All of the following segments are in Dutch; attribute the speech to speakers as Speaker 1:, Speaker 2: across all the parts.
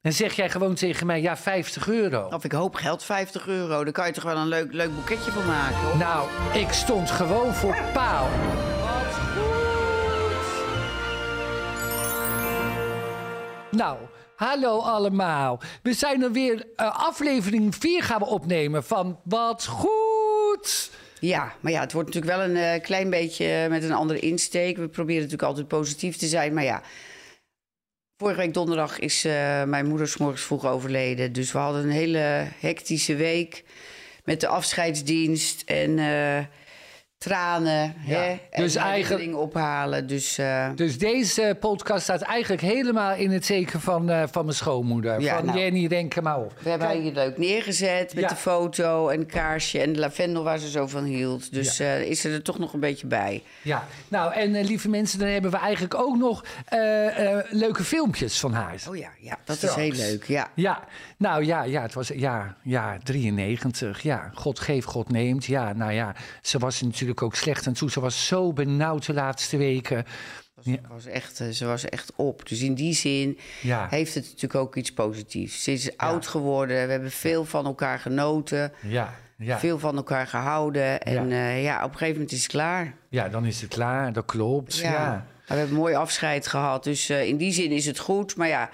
Speaker 1: Dan zeg jij gewoon tegen mij, ja, 50 euro.
Speaker 2: Of ik hoop geld, 50 euro. Daar kan je toch wel een leuk, leuk boeketje van maken. hoor.
Speaker 1: Nou, ik stond gewoon voor paal. Nou, hallo allemaal. We zijn er weer, eh, aflevering 4 gaan we opnemen van Wat Goed.
Speaker 2: Ja, maar ja, het wordt natuurlijk wel een eh, klein beetje eh, met een andere insteek. We proberen natuurlijk altijd positief te zijn, maar ja. Vorige week donderdag is eh, mijn moeder 's morgens vroeg overleden. Dus we hadden een hele hectische week met de afscheidsdienst en eh, tranen.
Speaker 1: Ja,
Speaker 2: Hè? En
Speaker 1: dus eigenlijk-
Speaker 2: herinneringen ophalen. Dus eh,
Speaker 1: Dus deze podcast staat eigenlijk helemaal in het teken van, eh, van mijn schoonmoeder.
Speaker 2: Ja,
Speaker 1: van
Speaker 2: nou.
Speaker 1: Jenny Renkema op.
Speaker 2: we hebben haar hier leuk neergezet met
Speaker 1: Ja.
Speaker 2: de foto en een kaarsje en de lavendel waar ze zo van hield. Dus eh, is ze er toch nog een beetje bij.
Speaker 1: Ja, nou en eh, lieve mensen, dan hebben we eigenlijk ook nog eh, eh, leuke filmpjes van haar.
Speaker 2: Oh ja, ja dat
Speaker 1: Straks.
Speaker 2: is heel leuk. Ja.
Speaker 1: Ja, nou ja, ja, het was ja, ja, 93. Ja, God geeft, God neemt. Ja, nou ja, ze was natuurlijk ook slecht aan toe. Ze was zo benauwd de laatste weken.
Speaker 2: Ze Was echt, eh, ze was echt op. Dus in die zin
Speaker 1: Ja.
Speaker 2: heeft het natuurlijk ook iets positiefs. Ze is oud geworden. We hebben veel van elkaar genoten.
Speaker 1: Ja, ja,
Speaker 2: Veel van elkaar gehouden. En ja. ja, op een gegeven moment is het klaar.
Speaker 1: ja, dan is het klaar. Dat klopt. Ja, ja.
Speaker 2: Maar We hebben een mooi afscheid gehad. Dus eh, in die zin is het goed. Maar ja,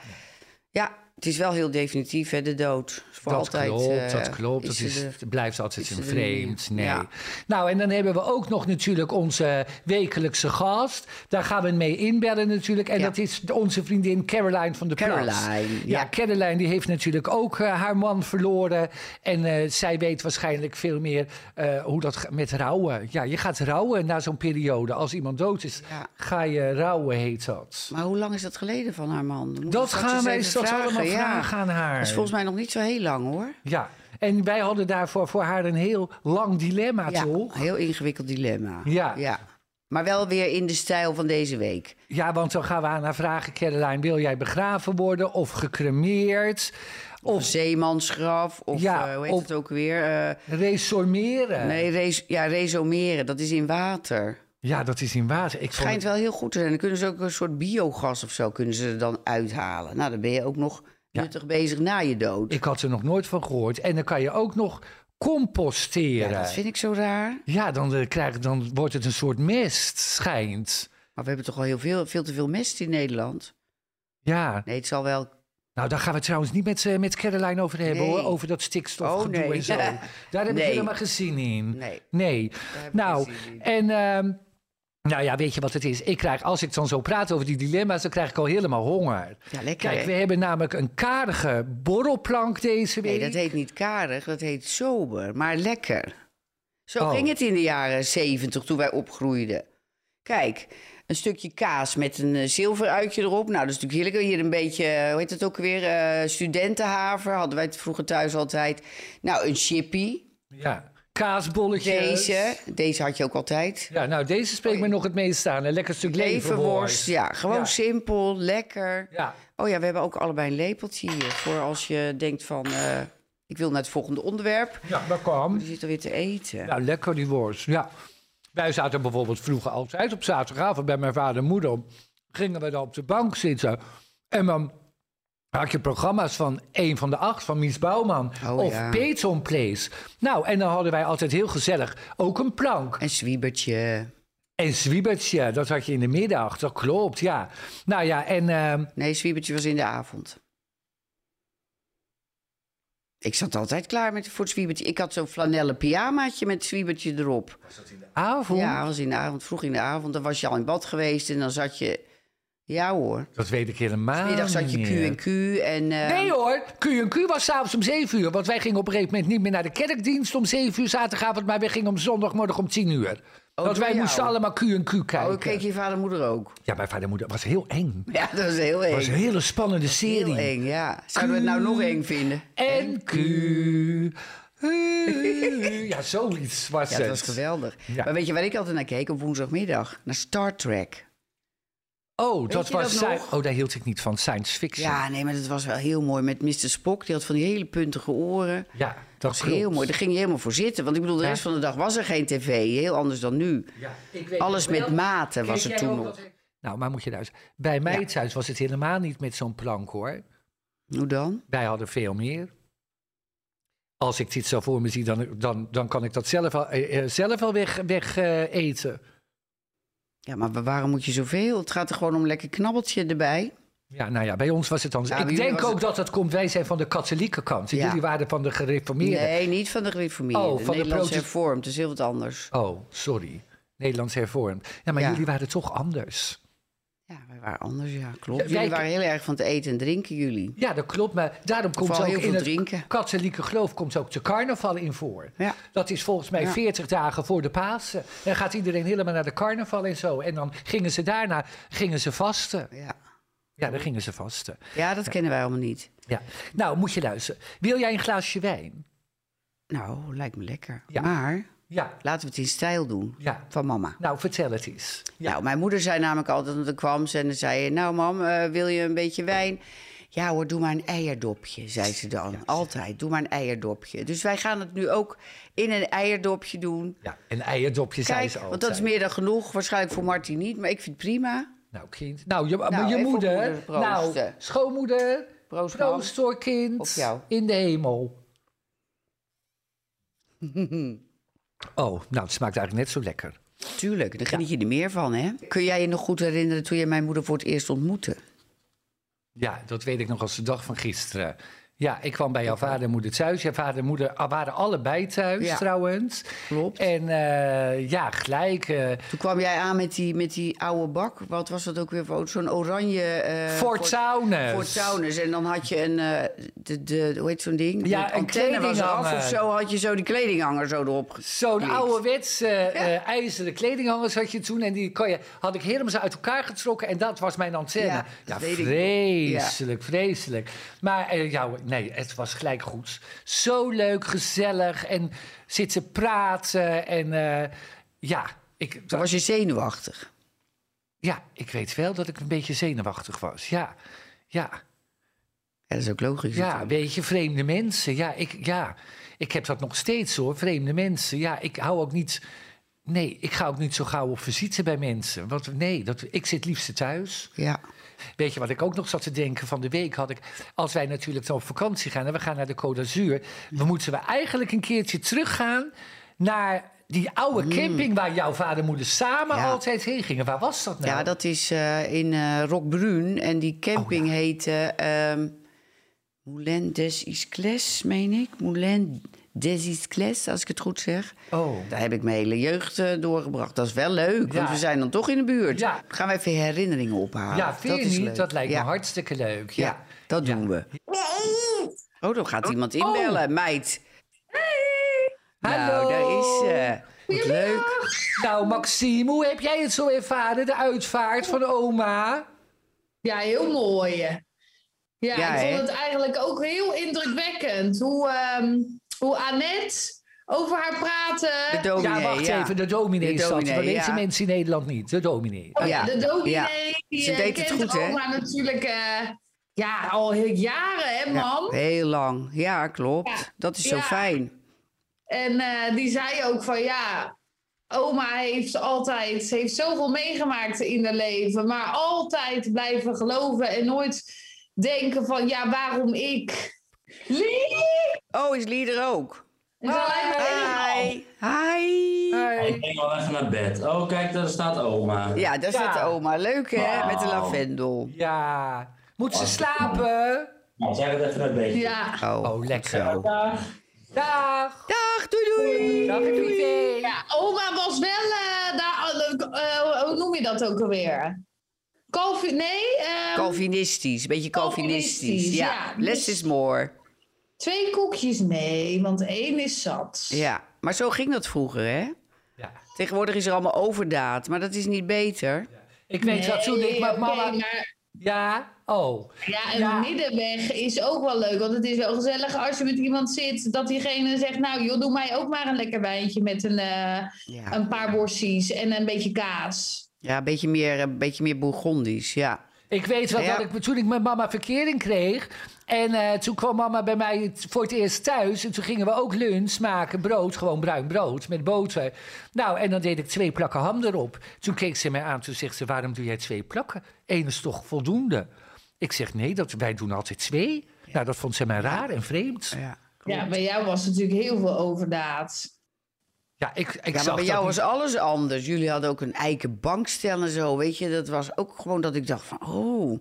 Speaker 2: ja het is wel heel definitief, hè, de dood. Voor
Speaker 1: Dat,
Speaker 2: altijd,
Speaker 1: klopt,
Speaker 2: eh,
Speaker 1: dat klopt, dat
Speaker 2: ze
Speaker 1: is
Speaker 2: er-
Speaker 1: het blijft altijd
Speaker 2: is
Speaker 1: een
Speaker 2: ze er niet.
Speaker 1: vreemd. Nee.
Speaker 2: Ja.
Speaker 1: Nou, en dan hebben we ook nog natuurlijk onze wekelijkse gast. Daar gaan we mee inbellen natuurlijk. En
Speaker 2: Ja.
Speaker 1: dat is onze vriendin Caroline van der Plas.
Speaker 2: Caroline,
Speaker 1: Ja,
Speaker 2: ja.
Speaker 1: Caroline die heeft natuurlijk ook eh, haar man verloren. En eh, zij weet waarschijnlijk veel meer eh, hoe dat ga- met rouwen. Ja, je gaat rouwen na zo'n periode. Als iemand dood is,
Speaker 2: Ja.
Speaker 1: ga je rouwen, heet dat.
Speaker 2: Maar hoe lang is dat geleden van haar man? Moeten we
Speaker 1: Dat
Speaker 2: straks
Speaker 1: gaan
Speaker 2: eens
Speaker 1: wij
Speaker 2: even
Speaker 1: straks allemaal
Speaker 2: ja.
Speaker 1: vragen aan haar.
Speaker 2: Dat is volgens mij nog niet zo heel lang, hoor.
Speaker 1: Ja, en wij hadden daarvoor voor haar een heel lang dilemma,
Speaker 2: Ja,
Speaker 1: toch?
Speaker 2: heel ingewikkeld dilemma.
Speaker 1: Ja.
Speaker 2: Maar wel weer in de stijl van deze week.
Speaker 1: Ja, want dan gaan we aan haar vragen, Caroline, wil jij begraven worden of gecremeerd?
Speaker 2: Of
Speaker 1: Of
Speaker 2: zeemansgraf, of
Speaker 1: Ja,
Speaker 2: eh, hoe heet
Speaker 1: op-
Speaker 2: het ook weer? Eh,
Speaker 1: resomeren?
Speaker 2: nee, res- ja, resomeren, dat is in water.
Speaker 1: Ja, dat is in water. Ik vond
Speaker 2: Schijnt
Speaker 1: het-
Speaker 2: wel heel goed te zijn. Dan kunnen ze ook een soort biogas of zo kunnen ze er dan uithalen. Nou, dan ben je ook nog nuttig bezig na je dood.
Speaker 1: Ik had er nog nooit van gehoord. En dan kan je ook nog
Speaker 2: Ja,
Speaker 1: composteren. Ja,
Speaker 2: dat vind ik zo raar.
Speaker 1: dan, eh, krijg, dan wordt het een soort mist, schijnt.
Speaker 2: Maar we hebben toch al heel veel, veel te veel mest in Nederland.
Speaker 1: Ja,
Speaker 2: Nee, het zal wel...
Speaker 1: nou daar gaan we het trouwens niet met, eh, met Caroline over hebben
Speaker 2: Nee.
Speaker 1: hoor. Over dat stikstofgedoe
Speaker 2: Oh, nee.
Speaker 1: en zo. Daar heb
Speaker 2: Nee.
Speaker 1: ik helemaal geen zin in.
Speaker 2: Nee.
Speaker 1: Nee.
Speaker 2: heb ik
Speaker 1: Nou,
Speaker 2: geen zin in.
Speaker 1: en. ehm, nou ja, weet je wat het is? Ik krijg, als ik dan zo praat over die dilemma's, dan krijg ik al helemaal honger.
Speaker 2: Ja, lekker,
Speaker 1: Kijk,
Speaker 2: hè?
Speaker 1: we hebben namelijk een karige borrelplank deze week.
Speaker 2: Nee, dat heet niet karig, dat heet sober, maar lekker. Zo
Speaker 1: Oh.
Speaker 2: ging het in de jaren zeventig toen wij opgroeiden. Kijk, een stukje kaas met een eh, zilveruitje erop. Nou, dat is natuurlijk heerlijk. Hier een beetje, eh, hoe heet het ook weer? eh, studentenhaver hadden wij het vroeger thuis altijd. Nou, een chippy.
Speaker 1: Ja, kaasbolletjes.
Speaker 2: Deze. Deze had je ook altijd.
Speaker 1: Ja, nou, deze spreekt me nog het meest aan. Een lekker stuk leverworst.
Speaker 2: Leverworst. Ja, gewoon
Speaker 1: Ja.
Speaker 2: simpel, lekker.
Speaker 1: Ja.
Speaker 2: Oh ja, we hebben ook allebei een lepeltje hier. Voor als je denkt van, eh, ik wil naar het volgende onderwerp.
Speaker 1: ja, dat kan.
Speaker 2: Je zit alweer te eten.
Speaker 1: Ja, Nou, lekker die worst. Ja. Wij zaten bijvoorbeeld vroeger altijd op zaterdagavond bij mijn vader en moeder. Gingen we dan op de bank zitten. En dan had je programma's van een van de acht, van Mies Bouwman.
Speaker 2: Oh,
Speaker 1: of
Speaker 2: ja.
Speaker 1: Peton Place. Nou, en dan hadden wij altijd heel gezellig ook een plank.
Speaker 2: Een zwiebertje.
Speaker 1: En zwiebertje, dat had je in de middag. Dat klopt, ja. Nou ja, en... ehm,
Speaker 2: Nee, zwiebertje was in de avond. Ik zat altijd klaar met, voor het zwiebertje. Ik had zo'n flanellen pyjamaatje met zwiebertje erop.
Speaker 1: avond.
Speaker 2: Ja, was in de avond, vroeg in de avond. Dan was je al in bad geweest en dan zat je... Ja hoor.
Speaker 1: Dat weet ik helemaal
Speaker 2: Middag zat je
Speaker 1: niet meer.
Speaker 2: Q&Q en... eh,
Speaker 1: Nee hoor, Q&Q was s'avonds om 7 uur. Want wij gingen op een gegeven moment niet meer naar de kerkdienst om 7 uur zaterdagavond. Maar wij gingen om zondagmorgen om 10 uur. want
Speaker 2: door
Speaker 1: wij
Speaker 2: Oh, jou.
Speaker 1: moesten allemaal Q&Q kijken.
Speaker 2: Oh, keek je vader en moeder ook?
Speaker 1: Ja, mijn vader en moeder was heel eng.
Speaker 2: Ja, dat was heel
Speaker 1: Het
Speaker 2: eng.
Speaker 1: was een hele spannende
Speaker 2: heel
Speaker 1: serie.
Speaker 2: eng, ja. Zouden we het nou nog eng vinden?
Speaker 1: En Q. Ja, zoiets was
Speaker 2: Ja,
Speaker 1: het.
Speaker 2: dat was geweldig.
Speaker 1: Ja.
Speaker 2: Maar weet je waar ik altijd naar keek op woensdagmiddag? Naar Star Trek.
Speaker 1: Oh, dat
Speaker 2: je
Speaker 1: was
Speaker 2: dat
Speaker 1: sci-
Speaker 2: nog?
Speaker 1: Oh, daar hield ik niet van. Science fiction.
Speaker 2: Ja, nee, maar dat was wel heel mooi. Met Mr. Spock, die had van die hele puntige oren.
Speaker 1: Ja, dat
Speaker 2: Dat was
Speaker 1: klopt.
Speaker 2: heel mooi. Daar ging je helemaal voor zitten. Want ik bedoel, de rest van de dag was er geen tv. Heel anders dan nu.
Speaker 1: Ja, ik weet
Speaker 2: Alles
Speaker 1: nog wel.
Speaker 2: met mate
Speaker 1: Keek
Speaker 2: was er
Speaker 1: jij
Speaker 2: toen
Speaker 1: ook
Speaker 2: nog.
Speaker 1: nou dat ik- Nou, maar moet je luisteren. Bij mij thuis was het helemaal niet met zo'n plank hoor.
Speaker 2: Hoe dan?
Speaker 1: Wij hadden veel meer. Als ik iets zo voor me zie, dan, dan, dan kan ik dat zelf al, eh, eh, zelf al weg, weg eh, eten.
Speaker 2: Ja, maar wa- waarom moet je zoveel? Het gaat er gewoon om een lekker knabbeltje erbij.
Speaker 1: Ja, nou ja, bij ons was het anders.
Speaker 2: Ja, bij
Speaker 1: ik
Speaker 2: jullie
Speaker 1: denk
Speaker 2: was
Speaker 1: ook
Speaker 2: het-
Speaker 1: dat dat komt. Wij zijn van de katholieke kant. En
Speaker 2: Ja.
Speaker 1: Jullie waren van de gereformeerde.
Speaker 2: Nee, niet van de gereformeerden.
Speaker 1: Oh, van de
Speaker 2: Nederlands
Speaker 1: protest-
Speaker 2: hervormd, dus heel wat anders.
Speaker 1: Oh, sorry. Nederlands hervormd. Ja, maar
Speaker 2: Ja.
Speaker 1: jullie waren toch anders.
Speaker 2: Ja, wij waren anders, ja, klopt.
Speaker 1: Ja,
Speaker 2: Jullie
Speaker 1: wij-
Speaker 2: waren heel erg van het eten en drinken, jullie.
Speaker 1: Ja, dat klopt. Maar daarom komt
Speaker 2: Vooral
Speaker 1: ook
Speaker 2: heel
Speaker 1: in
Speaker 2: veel
Speaker 1: het
Speaker 2: drinken.
Speaker 1: katholieke geloof komt ook de carnaval in voor.
Speaker 2: Ja.
Speaker 1: Dat is volgens mij
Speaker 2: Ja.
Speaker 1: 40 dagen voor de Pasen. Dan gaat iedereen helemaal naar de carnaval en zo. En dan gingen ze daarna gingen ze vasten.
Speaker 2: Ja,
Speaker 1: Ja, dan gingen ze vasten.
Speaker 2: ja dat kennen wij allemaal niet.
Speaker 1: Ja. Nou, moet je luisteren. Wil jij een glaasje wijn?
Speaker 2: Nou, lijkt me lekker.
Speaker 1: Ja.
Speaker 2: Maar
Speaker 1: Ja.
Speaker 2: laten we het in stijl doen
Speaker 1: ja.
Speaker 2: van mama.
Speaker 1: Nou, vertel het eens.
Speaker 2: Nou, mijn moeder zei namelijk altijd, want dan kwam ze en dan zei je... Nou, mam, eh, wil je een beetje wijn? Ja hoor, doe maar een eierdopje, zei ze dan. Altijd, doe maar een eierdopje. Dus wij gaan het nu ook in een eierdopje doen.
Speaker 1: Ja, een eierdopje zei
Speaker 2: Kijk,
Speaker 1: ze al.
Speaker 2: want dat is meer dan genoeg. Waarschijnlijk voor Martin niet, maar ik vind het prima.
Speaker 1: Nou, kind. Nou, je,
Speaker 2: Nou,
Speaker 1: je
Speaker 2: even op
Speaker 1: moeder.
Speaker 2: moeder proosten.
Speaker 1: nou, schoonmoeder.
Speaker 2: Proost, mam.
Speaker 1: Proost hoor, kind.
Speaker 2: Op jou.
Speaker 1: In de hemel. oh, nou, het smaakt eigenlijk net zo lekker.
Speaker 2: Tuurlijk, daar geniet je er meer van, hè? Kun jij je nog goed herinneren toen je mijn moeder voor het eerst ontmoette?
Speaker 1: Ja, dat weet ik nog als de dag van gisteren. Ja, ik kwam bij jouw vader en moeder thuis. Jouw vader en moeder ah, waren allebei thuis,
Speaker 2: Ja.
Speaker 1: trouwens.
Speaker 2: Klopt.
Speaker 1: En eh, ja, gelijk. eh,
Speaker 2: Toen kwam jij aan met die, met die oude bak. Wat was dat ook weer voor auto? Zo'n oranje... eh
Speaker 1: Fort Saunus.
Speaker 2: Fort Saunus. En dan had je een... eh, de, de, hoe heet zo'n ding?
Speaker 1: Ja,
Speaker 2: De
Speaker 1: een
Speaker 2: antenne was af
Speaker 1: kledinghanger.
Speaker 2: of zo. Had je zo die kledinghanger zo erop ges-
Speaker 1: Zo'n
Speaker 2: Niks.
Speaker 1: ouderwetse eh, eh, ijzeren kledinghangers had je toen. En die kon je, had ik helemaal zo uit elkaar getrokken. En dat was mijn antenne.
Speaker 2: Ja,
Speaker 1: Ja,
Speaker 2: dat weet ik nog.
Speaker 1: vreselijk, vreselijk. Maar eh, ja, nee, het was gelijk goed. Zo leuk, gezellig. En zitten praten. En eh, ja, ik,
Speaker 2: Toen was je zenuwachtig.
Speaker 1: ja, ik weet wel dat ik een beetje zenuwachtig was. Ja, ja.
Speaker 2: Ja, dat is ook logisch.
Speaker 1: Ja,
Speaker 2: natuurlijk.
Speaker 1: weet je, vreemde mensen. Ja ik, ja, ik heb dat nog steeds hoor, vreemde mensen. Ja, ik hou ook niet. Nee, ik ga ook niet zo gauw op visite bij mensen. Want nee, dat, ik zit liefst thuis.
Speaker 2: Ja.
Speaker 1: Weet je wat ik ook nog zat te denken van de week? Had ik, als wij natuurlijk dan op vakantie gaan en we gaan naar de Côte d'Azur, dan moeten we eigenlijk een keertje teruggaan naar die oude camping waar jouw vader en moeder samen
Speaker 2: Mm. Ja.
Speaker 1: altijd heen gingen. Waar was dat nou?
Speaker 2: ja, dat is eh, in eh Rockbrun. En die
Speaker 1: Oh,
Speaker 2: camping heette... ehm Moulin des Iscles, meen ik. Moulin des Iscles, als ik het goed zeg.
Speaker 1: Oh.
Speaker 2: Daar heb ik mijn hele jeugd eh, doorgebracht. Dat is wel leuk, want
Speaker 1: Ja.
Speaker 2: we zijn dan toch in de buurt.
Speaker 1: Ja.
Speaker 2: Gaan we even herinneringen ophalen.
Speaker 1: Ja, vind je
Speaker 2: Ah, is
Speaker 1: niet?
Speaker 2: leuk.
Speaker 1: Dat lijkt
Speaker 2: Ja.
Speaker 1: me hartstikke leuk.
Speaker 2: Ja,
Speaker 1: Ja.
Speaker 2: dat doen we. Oh, dan gaat iemand inbellen, meid.
Speaker 1: Hallo.
Speaker 2: Nou, daar is ze. Wat leuk.
Speaker 1: Nou, Maxime, hoe heb jij het zo ervaren, de uitvaart van oma?
Speaker 3: Ja, heel mooi. Ja,
Speaker 2: Ja,
Speaker 3: ik
Speaker 2: hè?
Speaker 3: vond het eigenlijk ook heel indrukwekkend hoe, ehm, hoe Annette over haar
Speaker 2: De
Speaker 3: praatte.
Speaker 2: dominee,
Speaker 1: ja, wacht even, de dominee
Speaker 2: De
Speaker 1: is dat.
Speaker 2: dominee,
Speaker 1: Maar deze
Speaker 2: ja.
Speaker 1: mensen in Nederland niet, de dominee.
Speaker 2: Ja,
Speaker 3: Oh, de dominee,
Speaker 2: ja.
Speaker 3: die
Speaker 2: Ze
Speaker 3: eh,
Speaker 2: deed het
Speaker 3: kent
Speaker 2: goed, hè?
Speaker 3: oma natuurlijk eh, ja, al heel jaren, hè,
Speaker 2: Ja,
Speaker 3: mam?
Speaker 2: heel lang. Ja, klopt.
Speaker 3: Ja.
Speaker 2: Dat is zo
Speaker 3: Ja.
Speaker 2: fijn.
Speaker 3: En eh, die zei ook van ja, oma heeft altijd, ze heeft zoveel meegemaakt in haar leven, maar altijd blijven geloven en nooit denken van ja, waarom ik? Lie!
Speaker 2: Oh, is Lieder ook?
Speaker 3: En zo lijkt me helemaal-
Speaker 2: Hi. Hi.
Speaker 1: Hey.
Speaker 4: Ik denk al even naar bed. Oh, kijk, daar staat oma.
Speaker 2: Ja, daar
Speaker 1: Ja.
Speaker 2: staat oma. Leuk, hè? Met de
Speaker 4: Wauw.
Speaker 2: lavendel.
Speaker 1: Ja, moet ze slapen?
Speaker 4: Nou, zeg het even naar bed.
Speaker 3: Ja.
Speaker 2: Oh.
Speaker 1: Oh, lekker. Dag.
Speaker 2: Dag, doei doei.
Speaker 1: Dag, lieve.
Speaker 3: Ja, oma was wel, eh, daar, eh, hoe noem je dat ook alweer? Calvi, nee, ehm,
Speaker 2: Calvinistisch, beetje Calvinistisch.
Speaker 3: Calvinistisch,
Speaker 2: ja.
Speaker 3: ja.
Speaker 2: less is more.
Speaker 3: twee koekjes, nee, want één is zat.
Speaker 2: Ja, maar zo ging dat vroeger, hè?
Speaker 1: Ja.
Speaker 2: Tegenwoordig is er allemaal overdaad, maar dat is niet beter.
Speaker 1: Ik weet dat toen ik
Speaker 3: Nee,
Speaker 1: met
Speaker 3: oké,
Speaker 1: mama...
Speaker 3: maar
Speaker 1: Ja, oh.
Speaker 3: ja, een
Speaker 1: Ja.
Speaker 3: middenweg is ook wel leuk. Want het is wel gezellig als je met iemand zit... dat diegene zegt, nou joh, doe mij ook maar een lekker wijntje... met een, eh,
Speaker 2: Ja,
Speaker 3: een paar worstjes en een beetje kaas.
Speaker 2: ja een, beetje meer, een beetje meer Bourgondisch, ja.
Speaker 1: Ik weet wat
Speaker 2: Ja.
Speaker 1: dat ik, toen ik met mama verkering kreeg. En eh, toen kwam mama bij mij t- voor het eerst thuis. En toen gingen we ook lunch maken, brood, gewoon bruin brood met boter. Nou, en dan deed ik twee plakken ham erop. Toen keek ze mij aan, toen zegt ze, waarom doe jij twee plakken? Eén is toch voldoende? Ik zeg, nee, dat, wij doen altijd twee. Ja, dat vond ze mij raar en vreemd.
Speaker 2: Ja.
Speaker 3: Ja, bij jou was natuurlijk heel veel overdaad.
Speaker 1: Ja, ik, ik
Speaker 2: Ja, maar
Speaker 1: zag
Speaker 2: bij
Speaker 1: dat
Speaker 2: jou
Speaker 1: niet.
Speaker 2: was alles anders. Jullie hadden ook een eikenbankstel en zo, weet je. Dat was ook gewoon dat ik dacht van, oh.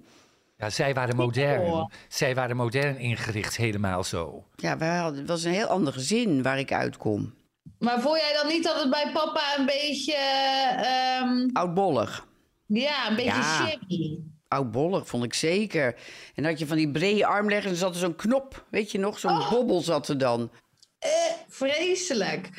Speaker 1: Ja, zij waren modern.
Speaker 3: hoor.
Speaker 1: Zij waren modern ingericht, helemaal zo.
Speaker 2: Ja, wij hadden, het was een heel ander gezin waar ik uitkom.
Speaker 3: Maar voel jij dan niet dat het bij papa een beetje, ehm,
Speaker 2: Oudbollig.
Speaker 3: ja, een beetje
Speaker 2: Ja.
Speaker 3: shaggy?
Speaker 2: Oudbollig, vond ik zeker. En dan had je van die brede armleggen en er zat er zo'n knop, weet je nog? Zo'n
Speaker 1: Oh.
Speaker 2: bobbel zat er dan.
Speaker 3: Eh, vreselijk.